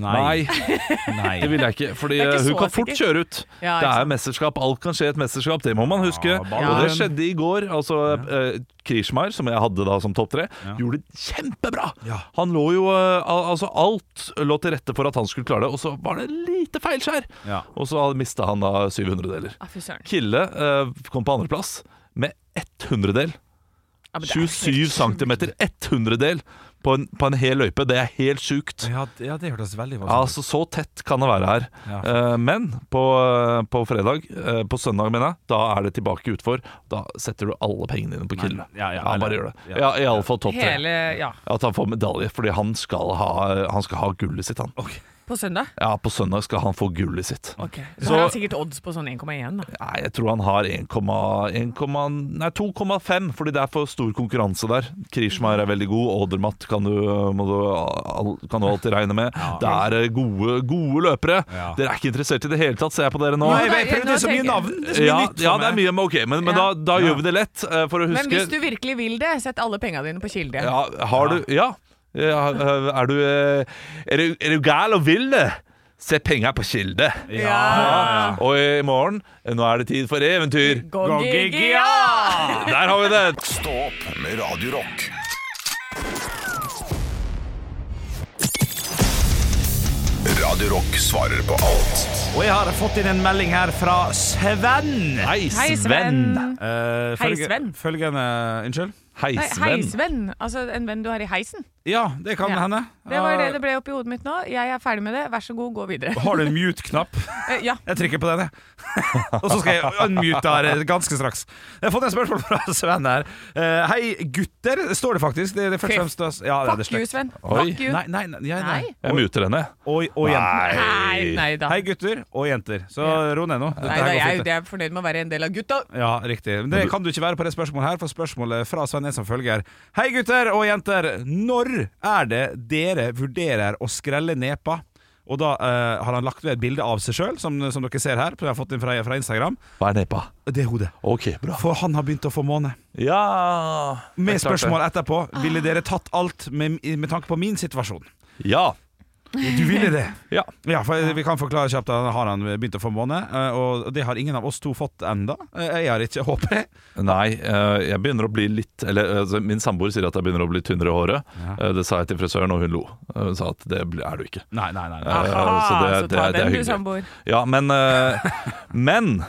S1: Nei,
S3: Nei.
S1: det vil jeg ikke. Fordi
S2: Jeg er ikke
S1: hun
S2: så
S1: kan fort
S2: sikker.
S1: kjøre ut.
S2: Ja,
S1: det
S2: ikke
S1: er mesterskap. Alt kan skje i et mesterskap, det må man huske.
S3: Ja, ballen.
S1: Og det skjedde i går. Altså, eh, Krishmar, som jeg hadde da som topp tre, gjorde det kjempebra!
S3: Ja.
S1: Han lå jo eh, al Altså, alt lå til rette for at han skulle klare det, og så var det lite feilskjær!
S3: Ja.
S1: Og så mista han da 700-deler.
S2: Ah, fy søren.
S1: Kille eh, kom på andreplass med 100-del.
S2: Ja, men det er helt
S1: 27
S2: sjukt.
S1: cm, 100-del på en, på en hel løype. Det er helt sjukt.
S3: Ja, det- ja, det hørtes veldig
S1: Ja,
S3: vanskelig ut.
S1: altså Så tett kan det være her.
S3: Ja.
S1: Eh, men på, på fredag, eh, på søndag mener jeg, da er det tilbake utfor. Da setter du alle pengene dine på Kille.
S3: ja, ja,
S1: bare
S3: eller-
S1: gjør det.
S3: ja.
S1: Ja, Iallfall topp tre.
S2: Hele Ja,
S1: At han får medalje, fordi han skal ha, han skal ha gullet sitt, han.
S2: på søndag?
S1: Ja, På søndag skal han få gullet sitt.
S2: Ok, Så,
S1: Så-
S2: har han sikkert odds på sånn 1,1, da.
S1: Nei, jeg tror han har 1,1 Nei, 2,5, fordi det er for stor konkurranse der. Krishmar er veldig god, Odermatt kan du, må du, all- kan du alltid regne med. Det er eh, gode, gode løpere.
S3: Ja.
S1: Dere er ikke interessert i det hele tatt, ser jeg på dere nå.
S3: Nei,
S2: Nei,
S3: jeg prøvde
S2: nå
S3: så mye
S2: tenker jeg-
S3: navn. Det er så mye
S1: Ja,
S3: nytt for
S1: ja, det er
S3: meg.
S1: mye med OK, men, men da,
S2: Ja.
S1: da gjør vi det lett eh, for å huske.
S2: Men hvis du virkelig vil det, sett alle penga dine på Kilde.
S1: ja, har du Ja. Ja, eh, Er du eh, Er du, er du gal og vil det? Se penga på kilde.
S2: Ja.
S1: Og i morgen, eh, nå er det tid for eventyr.
S2: GoGigia!
S1: Der har vi det!
S4: Stå opp med Radio Rock. Radio Rock svarer på alt.
S3: Og jeg har fått inn en melding her fra Sven.
S1: Hei, Sven.
S2: Hei, Sven.
S3: Eh,
S2: Mm. Hei,
S3: følge-
S2: Sven.
S3: Følgende Unnskyld?
S1: Hei,
S2: Nei,
S1: Sven.
S2: heisvenn. Altså en venn du har i heisen.
S3: Ja, det kan
S2: Ja.
S3: hende.
S2: Det var det
S3: Eh,
S2: det ble oppi hodet mitt nå. Jeg er ferdig med det. Vær så god, gå videre.
S3: Har du en mute-knapp?
S2: Eh, Ja.
S3: Jeg trykker på den, jeg. <laughs> Og så skal jeg unmute her eh, ganske straks. Jeg har fått et spørsmål fra Sven her. Eh, hei, gutter, står det faktisk. Det, det er først og fremst ja, det er det
S2: Fuck you,
S3: slekt.
S2: Sven.
S1: Oi.
S2: Fuck you.
S3: Nei, nei, nei, ja, nei.
S2: Nei.
S1: Jeg muter henne.
S3: Og, og jenter.
S2: Nei, nei da.
S3: Hei, gutter og jenter. Så ro ned nå. Dette
S2: Nei,
S3: her
S2: da,
S3: går
S2: jeg,
S3: fint.
S2: jeg er fornøyd med å være en del av gutta.
S3: Ja, riktig. Men det kan du ikke være på det spørsmålet her, for spørsmålet fra Sven er som følger. Hei gutter og jenter, når er det dere vurderer å skrelle nepa? Og da eh, har han lagt ved et bilde av seg sjøl, som, som dere ser her. som Jeg har fått inn fra, fra Instagram.
S1: Hva er nepa?
S3: Det er hodet.
S1: Ok, bra.
S3: For han har begynt å få måne.
S1: Ja
S3: Med
S1: Det er klart
S3: spørsmål etterpå. Ville dere tatt alt med, med tanke på min situasjon?
S1: det. Ja.
S3: Du ville det?
S1: Ja.
S3: <laughs> Ja, for vi kan forklare kjapt at har han begynt å få måne, eh, og det har ingen av oss to fått enda. Eh, Jeg har ikke, håper jeg.
S1: Nei, eh, jeg begynner å bli litt Eller altså, min samboer sier at jeg begynner å bli tynnere i håret. Eh, Det sa jeg til frisøren, og hun lo. Eh, Hun sa at det bli- er du ikke.
S3: Nei, nei, nei.
S1: Eh,
S3: nei.
S2: Aha, så ta den du,
S1: hyggelig.
S2: samboer.
S1: Ja, men eh, Men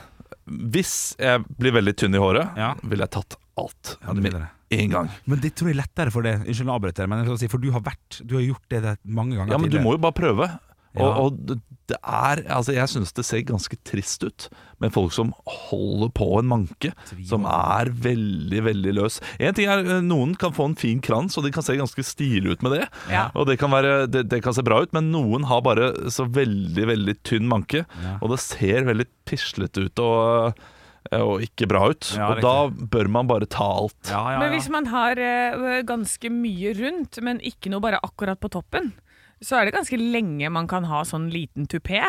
S1: hvis jeg blir veldig tynn i håret,
S3: Ja.
S1: ville jeg tatt alt
S3: det
S1: med
S3: ville det.
S1: en gang.
S3: Men det tror jeg er lettere for det. Unnskyld, jeg avbryter, men jeg skal si, for du har vært Du har gjort det der mange ganger
S1: Ja, men du må jo bare prøve. Og,
S3: Ja.
S1: og det- det er Altså, jeg syns det ser ganske trist ut med folk som holder på en manke, som er veldig, veldig løs. En ting er eh, noen kan få en fin krans, og de kan se ganske stilig ut med det.
S2: Ja.
S1: Og det kan, være, det, det kan se bra ut, men noen har bare så veldig, veldig tynn manke, og det ser veldig pislete ut og, eh, og ikke bra ut.
S3: Ja,
S1: og da bør man bare ta alt.
S3: Ja, ja,
S2: Men
S3: ja.
S2: hvis man har eh, ganske mye rundt, men ikke noe bare akkurat på toppen, så er det ganske lenge man kan ha sånn liten tupé.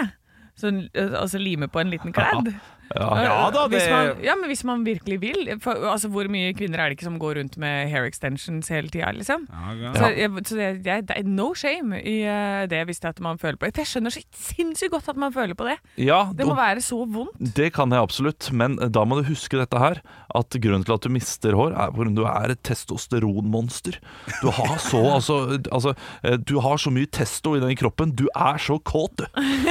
S2: Sånn, eh, altså lime på en liten kledd.
S1: Ja.
S3: Ja da,
S2: Hvis
S3: det-
S2: man, ja, men hvis man virkelig vil. For, altså, hvor mye kvinner er det ikke som går rundt med hair extensions hele tida, liksom?
S3: Ja,
S2: Så, jeg, så jeg, jeg, det er no shame i eh, det hvis det er at man føler på det. For Jeg skjønner så sinnssykt godt at man føler på det.
S1: ja
S2: Det må
S1: og
S2: være så vondt.
S1: det kan jeg absolutt, men da må du huske dette her. At grunnen til at du mister hår, er fordi du er et testosteronmonster. Du har <laughs> så altså, altså eh, Du har så mye testo i den kroppen. Du er så kåt, du.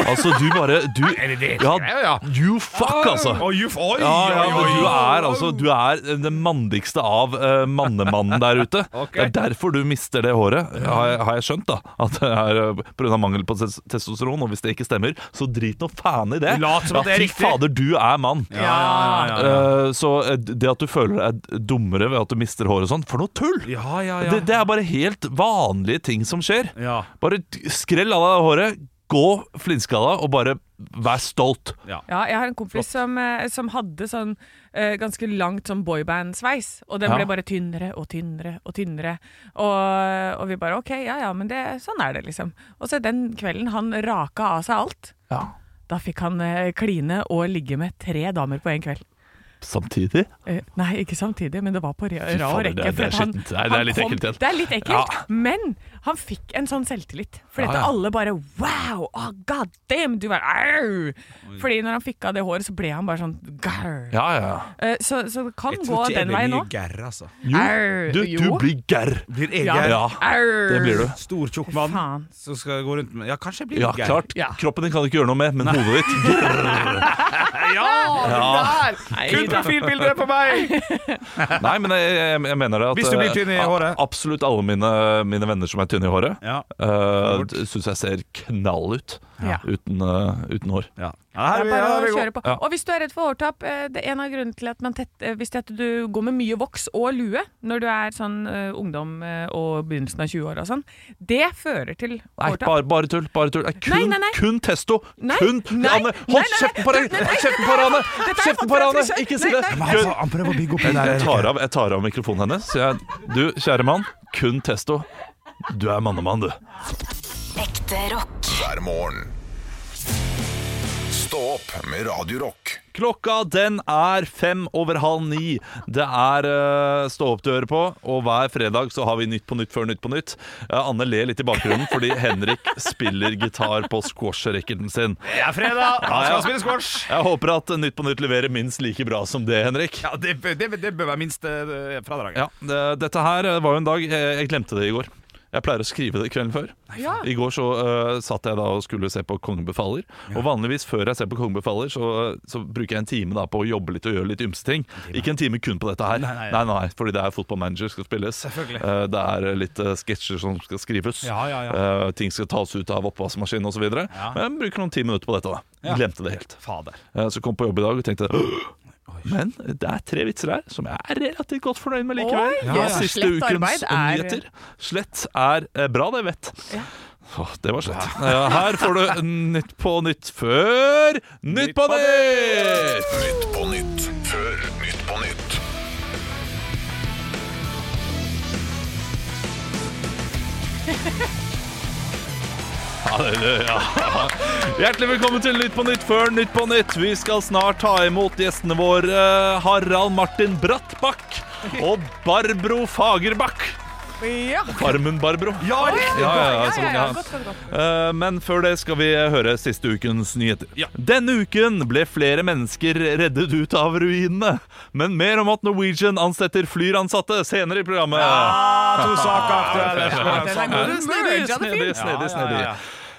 S1: Altså, du bare <laughs> Du ja, You fuck, altså.
S3: Oi, uf, oi,
S1: Ja, ja,
S3: oi,
S1: men
S3: oi.
S1: du er altså Du er den mandigste av eh, mannemannen der ute.
S3: <laughs> Ok.
S1: Det er derfor du mister det håret, har jeg, har jeg skjønt. da At det er eh, på grunn av mangel på tes- testosteron. Og hvis det ikke stemmer, så drit nå faen i det.
S3: Lat som at det er
S1: fy
S3: riktig.
S1: fader, du er mann.
S3: Ja, ja, ja, ja,
S1: Eh, så eh, det at du føler deg dummere ved at du mister håret og sånn, for noe tull!
S3: ja, ja, ja.
S1: Det, det er bare helt vanlige ting som skjer.
S3: ja.
S1: Bare t- skrell av deg håret, gå flintskalla og bare vær stolt.
S2: Ja, jeg har en kompis som, eh, som hadde sånn eh, ganske langt sånn boyband-sveis, og den
S1: Ja.
S2: ble bare tynnere og tynnere og tynnere. Og, og vi bare OK, ja ja, men det, sånn er det, liksom. Og så den kvelden han raka av seg alt,
S1: Ja.
S2: da fikk han eh, kline og ligge med tre damer på én kveld.
S1: Samtidig
S2: Eh, nei, ikke samtidig, men det var på ra-
S1: Fy
S2: rad
S1: fader, det er-
S2: rekke.
S1: det
S2: for
S1: er
S2: at han-
S1: skittent. Nei, det er
S2: han
S1: litt
S2: kom-
S1: ekkelt igjen.
S2: Det er litt ekkelt,
S1: Ja.
S2: men han fikk en sånn selvtillit. For
S1: Ja,
S2: dette
S1: ja.
S2: alle bare wow, oh, god damn, du bare au! Fordi når han fikk av det håret, så ble han bare sånn grr.
S1: Ja, ja, ja.
S2: Eh, så, så det kan
S3: Jeg
S2: gå
S3: tror ikke jeg
S2: den
S3: blir
S2: veien
S3: mye
S2: òg.
S3: gærre, altså.
S1: Jo,
S2: Au,
S1: du,
S2: jo.
S1: du blir gærr.
S3: Blir jeg
S2: Ja.
S3: gærre?
S1: Ja,
S2: Au!
S1: det blir du.
S3: Stor, tjukk mann
S2: Faen.
S3: som skal gå rundt med Ja, kanskje jeg blir
S1: Ja,
S3: litt gærre.
S1: klart.
S2: Ja.
S1: Kroppen din kan du ikke gjøre noe med, men hodet ditt
S2: <laughs>
S1: grrr. Ja.
S2: Nei,
S3: Kun
S2: da.
S3: profilbilder på meg!
S1: Nei, men jeg, jeg, jeg mener det at
S3: Hvis du blir
S1: eh,
S3: tynn i
S1: a-
S3: håret.
S1: Absolutt alle mine, mine venner som er tynne i håret,
S3: Ja.
S1: uh, syns jeg ser knall ut
S2: Ja.
S1: uten, eh, uten hår.
S3: Ja.
S2: Det
S3: Her,
S2: er
S3: vi-
S2: bare
S3: her
S2: å
S3: vi går.
S2: kjøre på.
S1: Ja.
S2: Og hvis du er redd for hårtap, eh, det er en av grunnene til at man tett, eh, hvis det er at du går med mye voks og lue når du er sånn eh, ungdom eh, og begynnelsen av 20-åra og sånn, det fører til
S1: Nei,
S2: hårtap.
S1: bare, bare tull. bare tull Det er kun,
S2: Nei, nei, nei.
S1: kun testo.
S2: Nei,
S1: kun
S2: nei,
S1: Anne,
S2: nei, nei,
S1: hold kjeften på deg!
S2: nei, nei, nei,
S1: Kjeften på deg, Anne!
S2: Dette er
S1: Kjeften på
S2: fått fra
S1: deg, Anne!
S2: frisør.
S1: Ikke si
S2: Nei,
S1: det!
S2: nei,
S3: Men
S1: Kun,
S3: Han, han prøver å bygge opp den
S1: jeg,
S3: der
S1: tar av, jeg tar av mikrofonen hennes. så Jeg, du, kjære mann, kun testo. Du er mannemann, du.
S5: Ekte rock.
S4: hver morgen. Stå opp med Radio Rock.
S1: Klokka den er fem over halv ni. Det er uh, stå opp du hører på, og hver fredag så har vi Nytt på nytt før Nytt på nytt. Eh, Anne ler litt i bakgrunnen fordi Henrik spiller gitar på squash-racketen sin.
S3: Det er fredag, han
S1: Ja, ja.
S3: skal spille squash!
S1: Jeg håper at Nytt på nytt leverer minst like bra som det, Henrik.
S3: Ja, det, bør- det, bør- det bør være minste eh, fradraget.
S1: Ja, det, Dette her eh, var jo en dag eh, Jeg glemte det i går. Jeg pleier å skrive det kvelden før.
S2: Ja.
S1: I går så eh, satt jeg da og skulle se på Kongen befaler. Og vanligvis før jeg ser på Kongen befaler, så, eh, så bruker jeg en time da på å jobbe litt og gjøre litt ymse ting. Ikke en time kun på dette her,
S3: Nei, nei,
S1: nei, nei fordi det er fotballmanager skal spilles.
S3: Selvfølgelig.
S1: Eh, det er eh, litt eh, sketsjer som skal skrives.
S3: Ja, ja,
S1: Eh, ting skal tas ut av oppvaskmaskinen osv. videre Men jeg bruker noen ti minutter på dette. da
S3: Ja.
S1: Glemte det helt.
S3: Fader.
S1: Eh, Så kom på jobb i dag og tenkte Men det er tre vitser her som jeg er relativt godt fornøyd med likevel.
S2: Oi,
S1: Og
S2: ja.
S1: Siste
S2: Slett
S1: ukens
S2: arbeid er-
S1: nyheter. Slett er eh, bra, det vet. Åh, det var slett. Eh, Her får du Nytt på nytt før Nytt på nytt!
S4: Nytt på nytt før Nytt på nytt.
S1: Ja, det- det- ja. Hjertelig velkommen til Nytt på nytt før Nytt på nytt. Vi skal snart ta imot gjestene våre eh, Harald Martin Brattbakk og Barbro Fagerbakk.
S2: Ja,
S1: Farmen Barbro.
S3: Ja,
S1: Ja, ja, ja,
S2: ja,
S1: sånn,
S2: ja,
S1: ja.
S2: ja. Godt, godt, godt.
S1: Eh, Men før det skal vi høre siste ukens nyheter.
S3: Ja.
S1: Denne uken ble flere mennesker reddet ut av ruinene. Men mer om at Norwegian ansetter flyransatte senere i programmet.
S3: To saker aktuelle.
S2: Den er god.
S1: Snedig,
S2: Merge, ja, det er
S1: snedig,
S2: fint.
S1: snedig,
S3: Ja, ja,
S1: snedig.
S3: ja.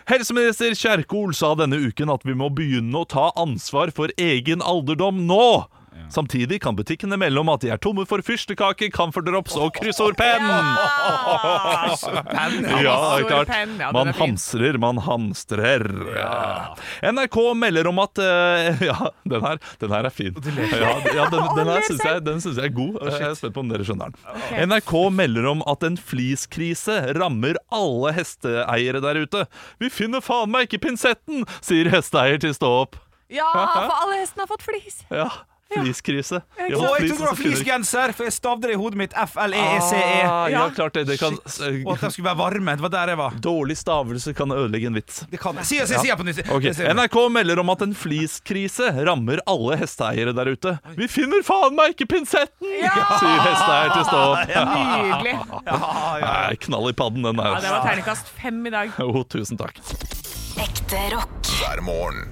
S1: Helseminister Kjerkol sa denne uken at vi må begynne å ta ansvar for egen alderdom nå. Samtidig kan butikkene melde om at de er tomme for fyrstekake, camferdrops og kryssordpenn. Ja, det er klart.
S2: Hamsterpenn, ja, den
S1: Man
S2: er fin.
S1: hamstrer, man hamstrer. NRK melder om at eh, <laughs> Ja, den her, den her er fin. Ja, ja, den, den her syns jeg, den synes jeg er god. Jeg er spent på om dere skjønner den. NRK melder om at en fliskrise rammer alle hesteeiere der ute. Vi finner faen meg ikke pinsetten, sier hesteeier til Stå opp.
S2: Ja, for alle hestene har fått flis.
S1: Ja. Fliskrise. Vi har
S3: Å,
S1: fått
S3: jeg
S1: flis, og så
S3: trodde det var
S1: kunne vi ikke-
S3: flisgenser, for jeg stavde det i hodet mitt. E F-l-e-e-c-e.
S1: Ah, ja,
S8: Ja.
S1: klart det. det kan,
S3: Og at de skulle være varme. Det var der jeg var.
S1: <laughs> dårlig stavelse kan ødelegge en vits.
S3: Det kan jeg. Si det, si det, si det på nytt.
S1: Ok,
S3: Det sier jeg.
S1: NRK melder om at en fliskrise rammer alle hesteeiere der ute. Vi finner faen meg ikke pinsetten! Sier hesteeier til stå.
S8: Nydelig.
S1: Nei, knall i padden, den
S8: Ja, det var
S1: der.
S8: terningkast fem i dag.
S1: Jo, tusen takk.
S5: Ekte rock.
S4: hver morgen.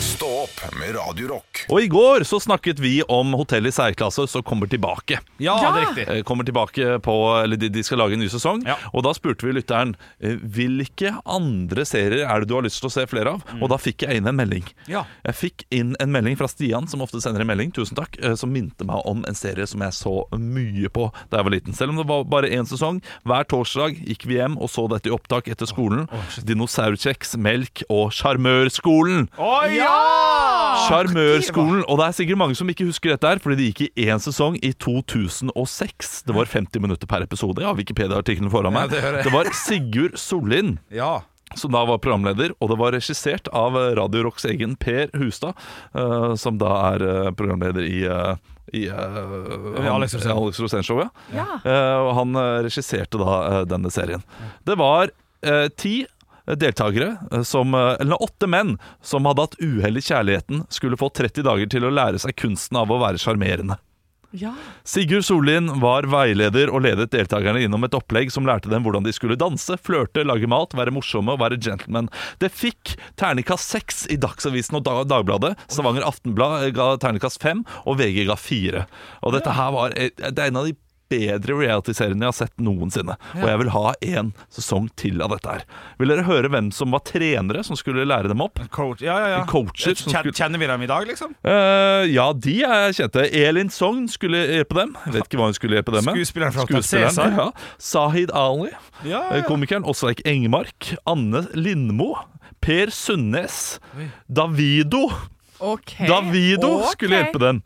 S4: Stå opp med Radio Rock.
S1: Og i går så snakket vi om hotell i særklasse som kommer tilbake.
S3: Ja, det er riktig.
S1: Eh, Kommer tilbake på, eller de, de skal lage en ny sesong.
S3: Ja.
S1: Og da spurte vi lytteren eh, hvilke andre serier er det du har lyst til å se flere av. Og da fikk jeg inn en melding.
S3: Mm. Ja.
S1: Jeg fikk inn en melding fra Stian, som ofte sender en melding, tusen takk, eh, som minte meg om en serie som jeg så mye på da jeg var liten. Selv om det var bare én sesong. Hver torsdag gikk vi hjem og så dette i opptak etter skolen. Dinosaurkjeks, melk og Sjarmørskolen.
S3: Å ja!
S1: Sjarmørskolen. Og det er sikkert mange som ikke husker dette her, fordi det gikk i én sesong i 2006. Det var 50 minutter per episode. Jeg har Wikipedia-artikkelen foran meg.
S3: Ja, det hører jeg.
S1: det var Sigurd Sollien
S3: Ja.
S1: som da var programleder, og det var regissert av eh, Radio Rocks egen Per Hustad, eh, som da er eh, programleder i eh, i eh, han-
S3: Alex Rosén.
S1: Alex Rosén-show, ja.
S8: Ja.
S1: Eh, og han eh, regisserte da eh, denne serien. Det var eh, ti deltakere, eh, som, eh, eller åtte menn, som hadde hatt uhell i kjærligheten, skulle få 30 dager til å lære seg kunsten av å være sjarmerende.
S8: Ja.
S1: Sigurd Sollien var veileder og ledet deltakerne innom et opplegg som lærte dem hvordan de skulle danse, flørte, lage mat, være morsomme og være gentlemen. Det fikk terningkast seks i Dagsavisen og Dag- Dagbladet. Stavanger Aftenblad eh, ga terningkast fem, og VG ga fire. Og dette her var eh, det er en av de bedre reality-seriene jeg har sett noensinne. Og jeg vil ha en sesong til av dette her. Vil dere høre hvem som var trenere som skulle lære dem opp?
S3: Coach. Ja, ja, ja.
S1: Coacher som
S3: Kjen-
S1: skulle
S3: Kjenner vi dem i dag, liksom?
S1: Eh, ja, de er kjente. Elin Sogn skulle hjelpe dem. Jeg vet ikke hva hun skulle hjelpe dem med.
S3: Skuespilleren fra Hotel Cæsar.
S1: ja. Sahid Ali.
S3: Ja,
S1: eh, Komikeren Åsleik Engmark. Anne Lindmo. Per Sundnes. Davido.
S8: Ok.
S1: Davido
S8: Ok.
S1: skulle hjelpe dem.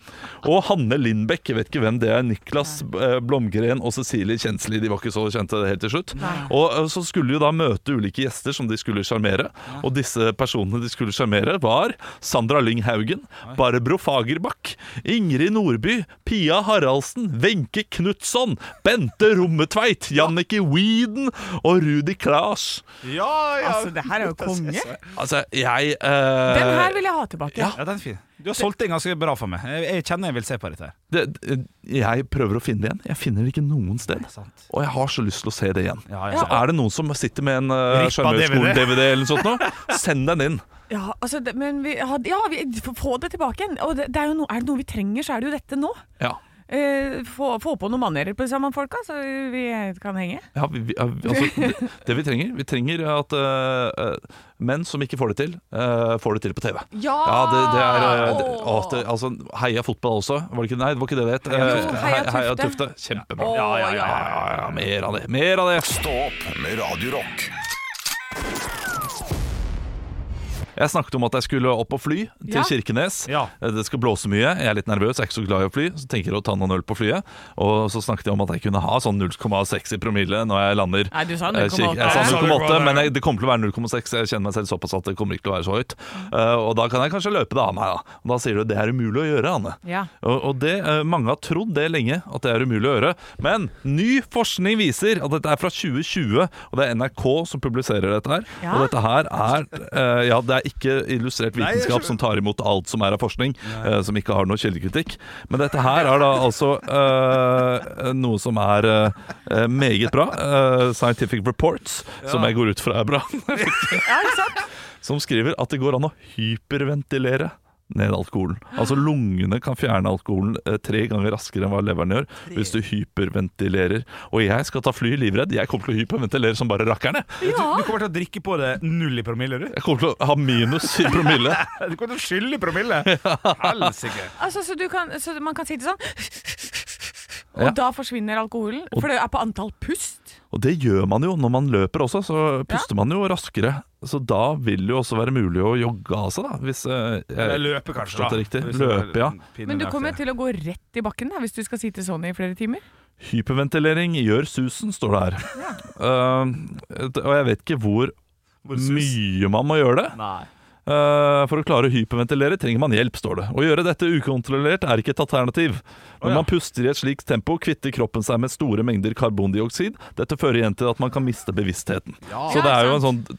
S1: Og Hanne Lindbekk. Jeg vet ikke hvem det er. Niklas eh, Blomgren og Cecilie Kjensli. De var ikke så kjente helt til slutt. Og eh, så skulle de jo da møte ulike gjester som de skulle sjarmere. Og disse personene de skulle sjarmere, var Sandra Lyng Haugen, Barbro Fagerbakk, Ingrid Nordby, Pia Haraldsen, Wenche Knutson, Bente Rommetveit, Jannicke Weeden og Rudi Klas.
S3: Ja, ja.
S8: Altså, det her er jo konge.
S1: Altså, jeg
S8: Den
S1: eh,
S8: her vil jeg ha tilbake.
S3: Ja, den er fin. Du har solgt den ganske bra for meg. Jeg, jeg kjenner jeg vil se på dette. her
S1: det, det- jeg prøver å finne det igjen. Jeg finner det ikke noen sted. Og jeg har så lyst til å se det igjen.
S3: Ja, ja.
S1: Så er det noen som sitter med en
S3: Rippa
S1: uh, Sjarmørskolen-DVD eller noe sånt nå, send den inn.
S8: Ja, altså, det, men vi, hadde- ja vi, f- få det tilbake igjen. Og det, det er, jo no, er det noe vi trenger, så er det jo dette nå.
S1: Ja,
S8: Eh, få, få på noen manerer på sammen folka, så vi kan henge.
S1: ja, vi, vi, altså, det, det vi trenger Vi trenger at eh, eh, menn som ikke får det til, eh, får det til på TV.
S8: Ja!
S1: Ja, det, det er eh, det, å, det, altså, Heia fotball også. Var det ikke, nei, det var ikke det det het.
S8: Jo,
S1: Eh,
S8: Heia
S1: Heia
S8: Tufte.
S1: Tufte. Kjempebra.
S8: Ja, ja, ja.
S1: Ja, ja, ja, mer av det. Mer av det.
S4: Stå opp med Radio Rock.
S1: Jeg snakket om at jeg skulle opp og fly til
S8: Ja.
S1: Kirkenes.
S3: Ja.
S1: Det skal blåse mye. Jeg er litt nervøs, jeg er ikke så glad i å fly, så tenker jeg å ta noen øl på flyet. Og så snakket jeg om at jeg kunne ha sånn 0,6 i promille når jeg lander.
S8: Nei, du sa 0,8.
S1: Eh, Kirke- Jeg sa
S3: Nei, sa
S1: 0,8,
S3: du ikke hva
S1: men
S3: det
S1: jeg, det kommer til å være 0,6. Jeg kjenner meg selv såpass at det kommer ikke til å være så høyt. Eh, og da kan jeg kanskje løpe det av meg, da. Og da sier du det er umulig å gjøre, Anne.
S8: Ja.
S1: Og, og det, eh, mange har trodd det lenge, at det er umulig å gjøre. Men ny forskning viser at dette er fra 2020, og det er NRK som publiserer dette her.
S8: Ja.
S1: Og dette her er eh, Ja, det er ikke illustrert vitenskap som tar imot alt som er av forskning, eh, som ikke har noe kildekritikk. Men dette her er da altså eh, noe som er eh, meget bra. Eh, Scientific Reports, som jeg går ut fra er bra. <laughs> som skriver at det går an å hyperventilere ned alkoholen. Altså lungene kan fjerne alkoholen eh, tre ganger raskere enn hva leveren gjør hvis du hyperventilerer. Og jeg skal ta fly livredd. Jeg kommer til å hyperventilere som bare rakkerne.
S3: Du, du kommer til å drikke på det null i promille, du.
S1: Jeg kommer til å ha minus i promille.
S3: Du kommer til å skylle i
S1: <laughs>
S3: promille. Helsike.
S8: Altså, så, du kan, så man kan sitte sånn
S2: sånn,
S8: Og
S1: Ja.
S8: da forsvinner alkoholen. For det er på antall pust.
S1: Og det gjør man jo når man løper også, så puster man jo raskere. Så da vil det jo også være mulig å jogge av seg, da. Hvis eh,
S3: Eller
S1: jeg
S3: løpe, kanskje.
S1: Forstått
S3: da.
S1: det riktig.
S3: Hvis det er
S1: Løpe, ja.
S3: en pinne
S8: Men du
S3: der
S8: kommer
S3: til.
S8: til å gå rett i bakken da, hvis du skal sitte sånn i flere timer.
S1: Hyperventilering gjør susen, står det her. Eh, og jeg vet ikke hvor
S3: sus?
S1: mye man må gjøre det.
S3: Nei.
S1: Eh, Eh, For å klare å hyperventilere trenger man hjelp, står det. Å gjøre dette ukontrollert er ikke et alternativ. Når man puster i et slikt tempo, kvitter kroppen seg med store mengder karbondioksid. Dette fører igjen til at man kan miste bevisstheten. Så det er jo en sånn det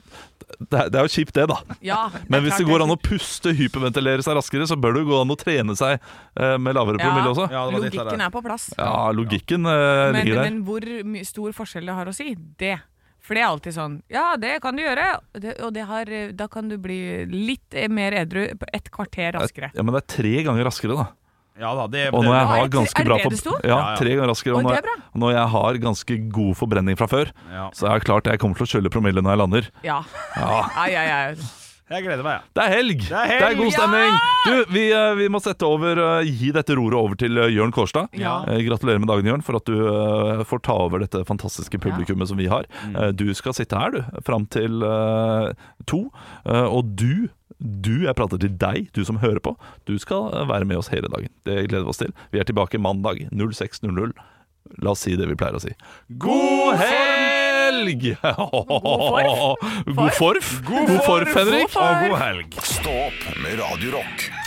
S1: er, det er jo kjipt, det, da.
S2: Ja, det er
S1: Men hvis
S2: klart
S1: det går
S2: er
S1: an å puste, hyperventilere seg raskere, så bør det jo gå an å trene seg eh, med lavere
S2: Ja.
S1: promille også.
S3: Ja, det var litt av det.
S2: Logikken er på plass.
S1: Ja, logikken eh,
S2: Men,
S1: ligger der.
S2: men hvor my- stor forskjell det har å si, det. For det er alltid sånn Ja, det kan du gjøre, det, og det har, eh, da kan du bli litt eh, mer edru på et kvarter raskere.
S1: Ja, men det er tre ganger raskere, da.
S3: Ja da, det,
S1: Og når jeg
S2: Å, er
S1: har
S2: det- er
S1: ganske
S2: det
S1: bra
S2: det
S1: for-
S2: det sto?
S1: Ja,
S3: Ja, ja.
S1: tre ganger raskere.
S2: Oi,
S1: Og når,
S2: det er bra.
S1: og når jeg har ganske god forbrenning fra før,
S3: Ja.
S1: så er det klart jeg kommer til å kjølle promille når jeg lander.
S2: Ja.
S1: Ja.
S2: Ja, ja, ja.
S3: Jeg gleder meg, jeg.
S1: Det er helg! Det
S3: er helg!
S1: god stemning! Du, vi, eh, vi må sette over, eh, gi dette roret over til eh, Jørn Kårstad.
S2: Ja.
S1: Eh, Gratulerer med dagen, Jørn, for at du eh, får ta over dette fantastiske publikummet som vi har. Eh, Du skal sitte her, du, fram til eh, to. Eh, Og du, du, jeg prater til deg, du som hører på, du skal eh, være med oss hele dagen. Det gleder vi oss til. Vi er tilbake mandag 06.00. La oss si det vi pleier å si. God helg! <laughs> God forf? God forf, Henrik.
S3: Og god helg.
S4: Stå opp med Radio Rock.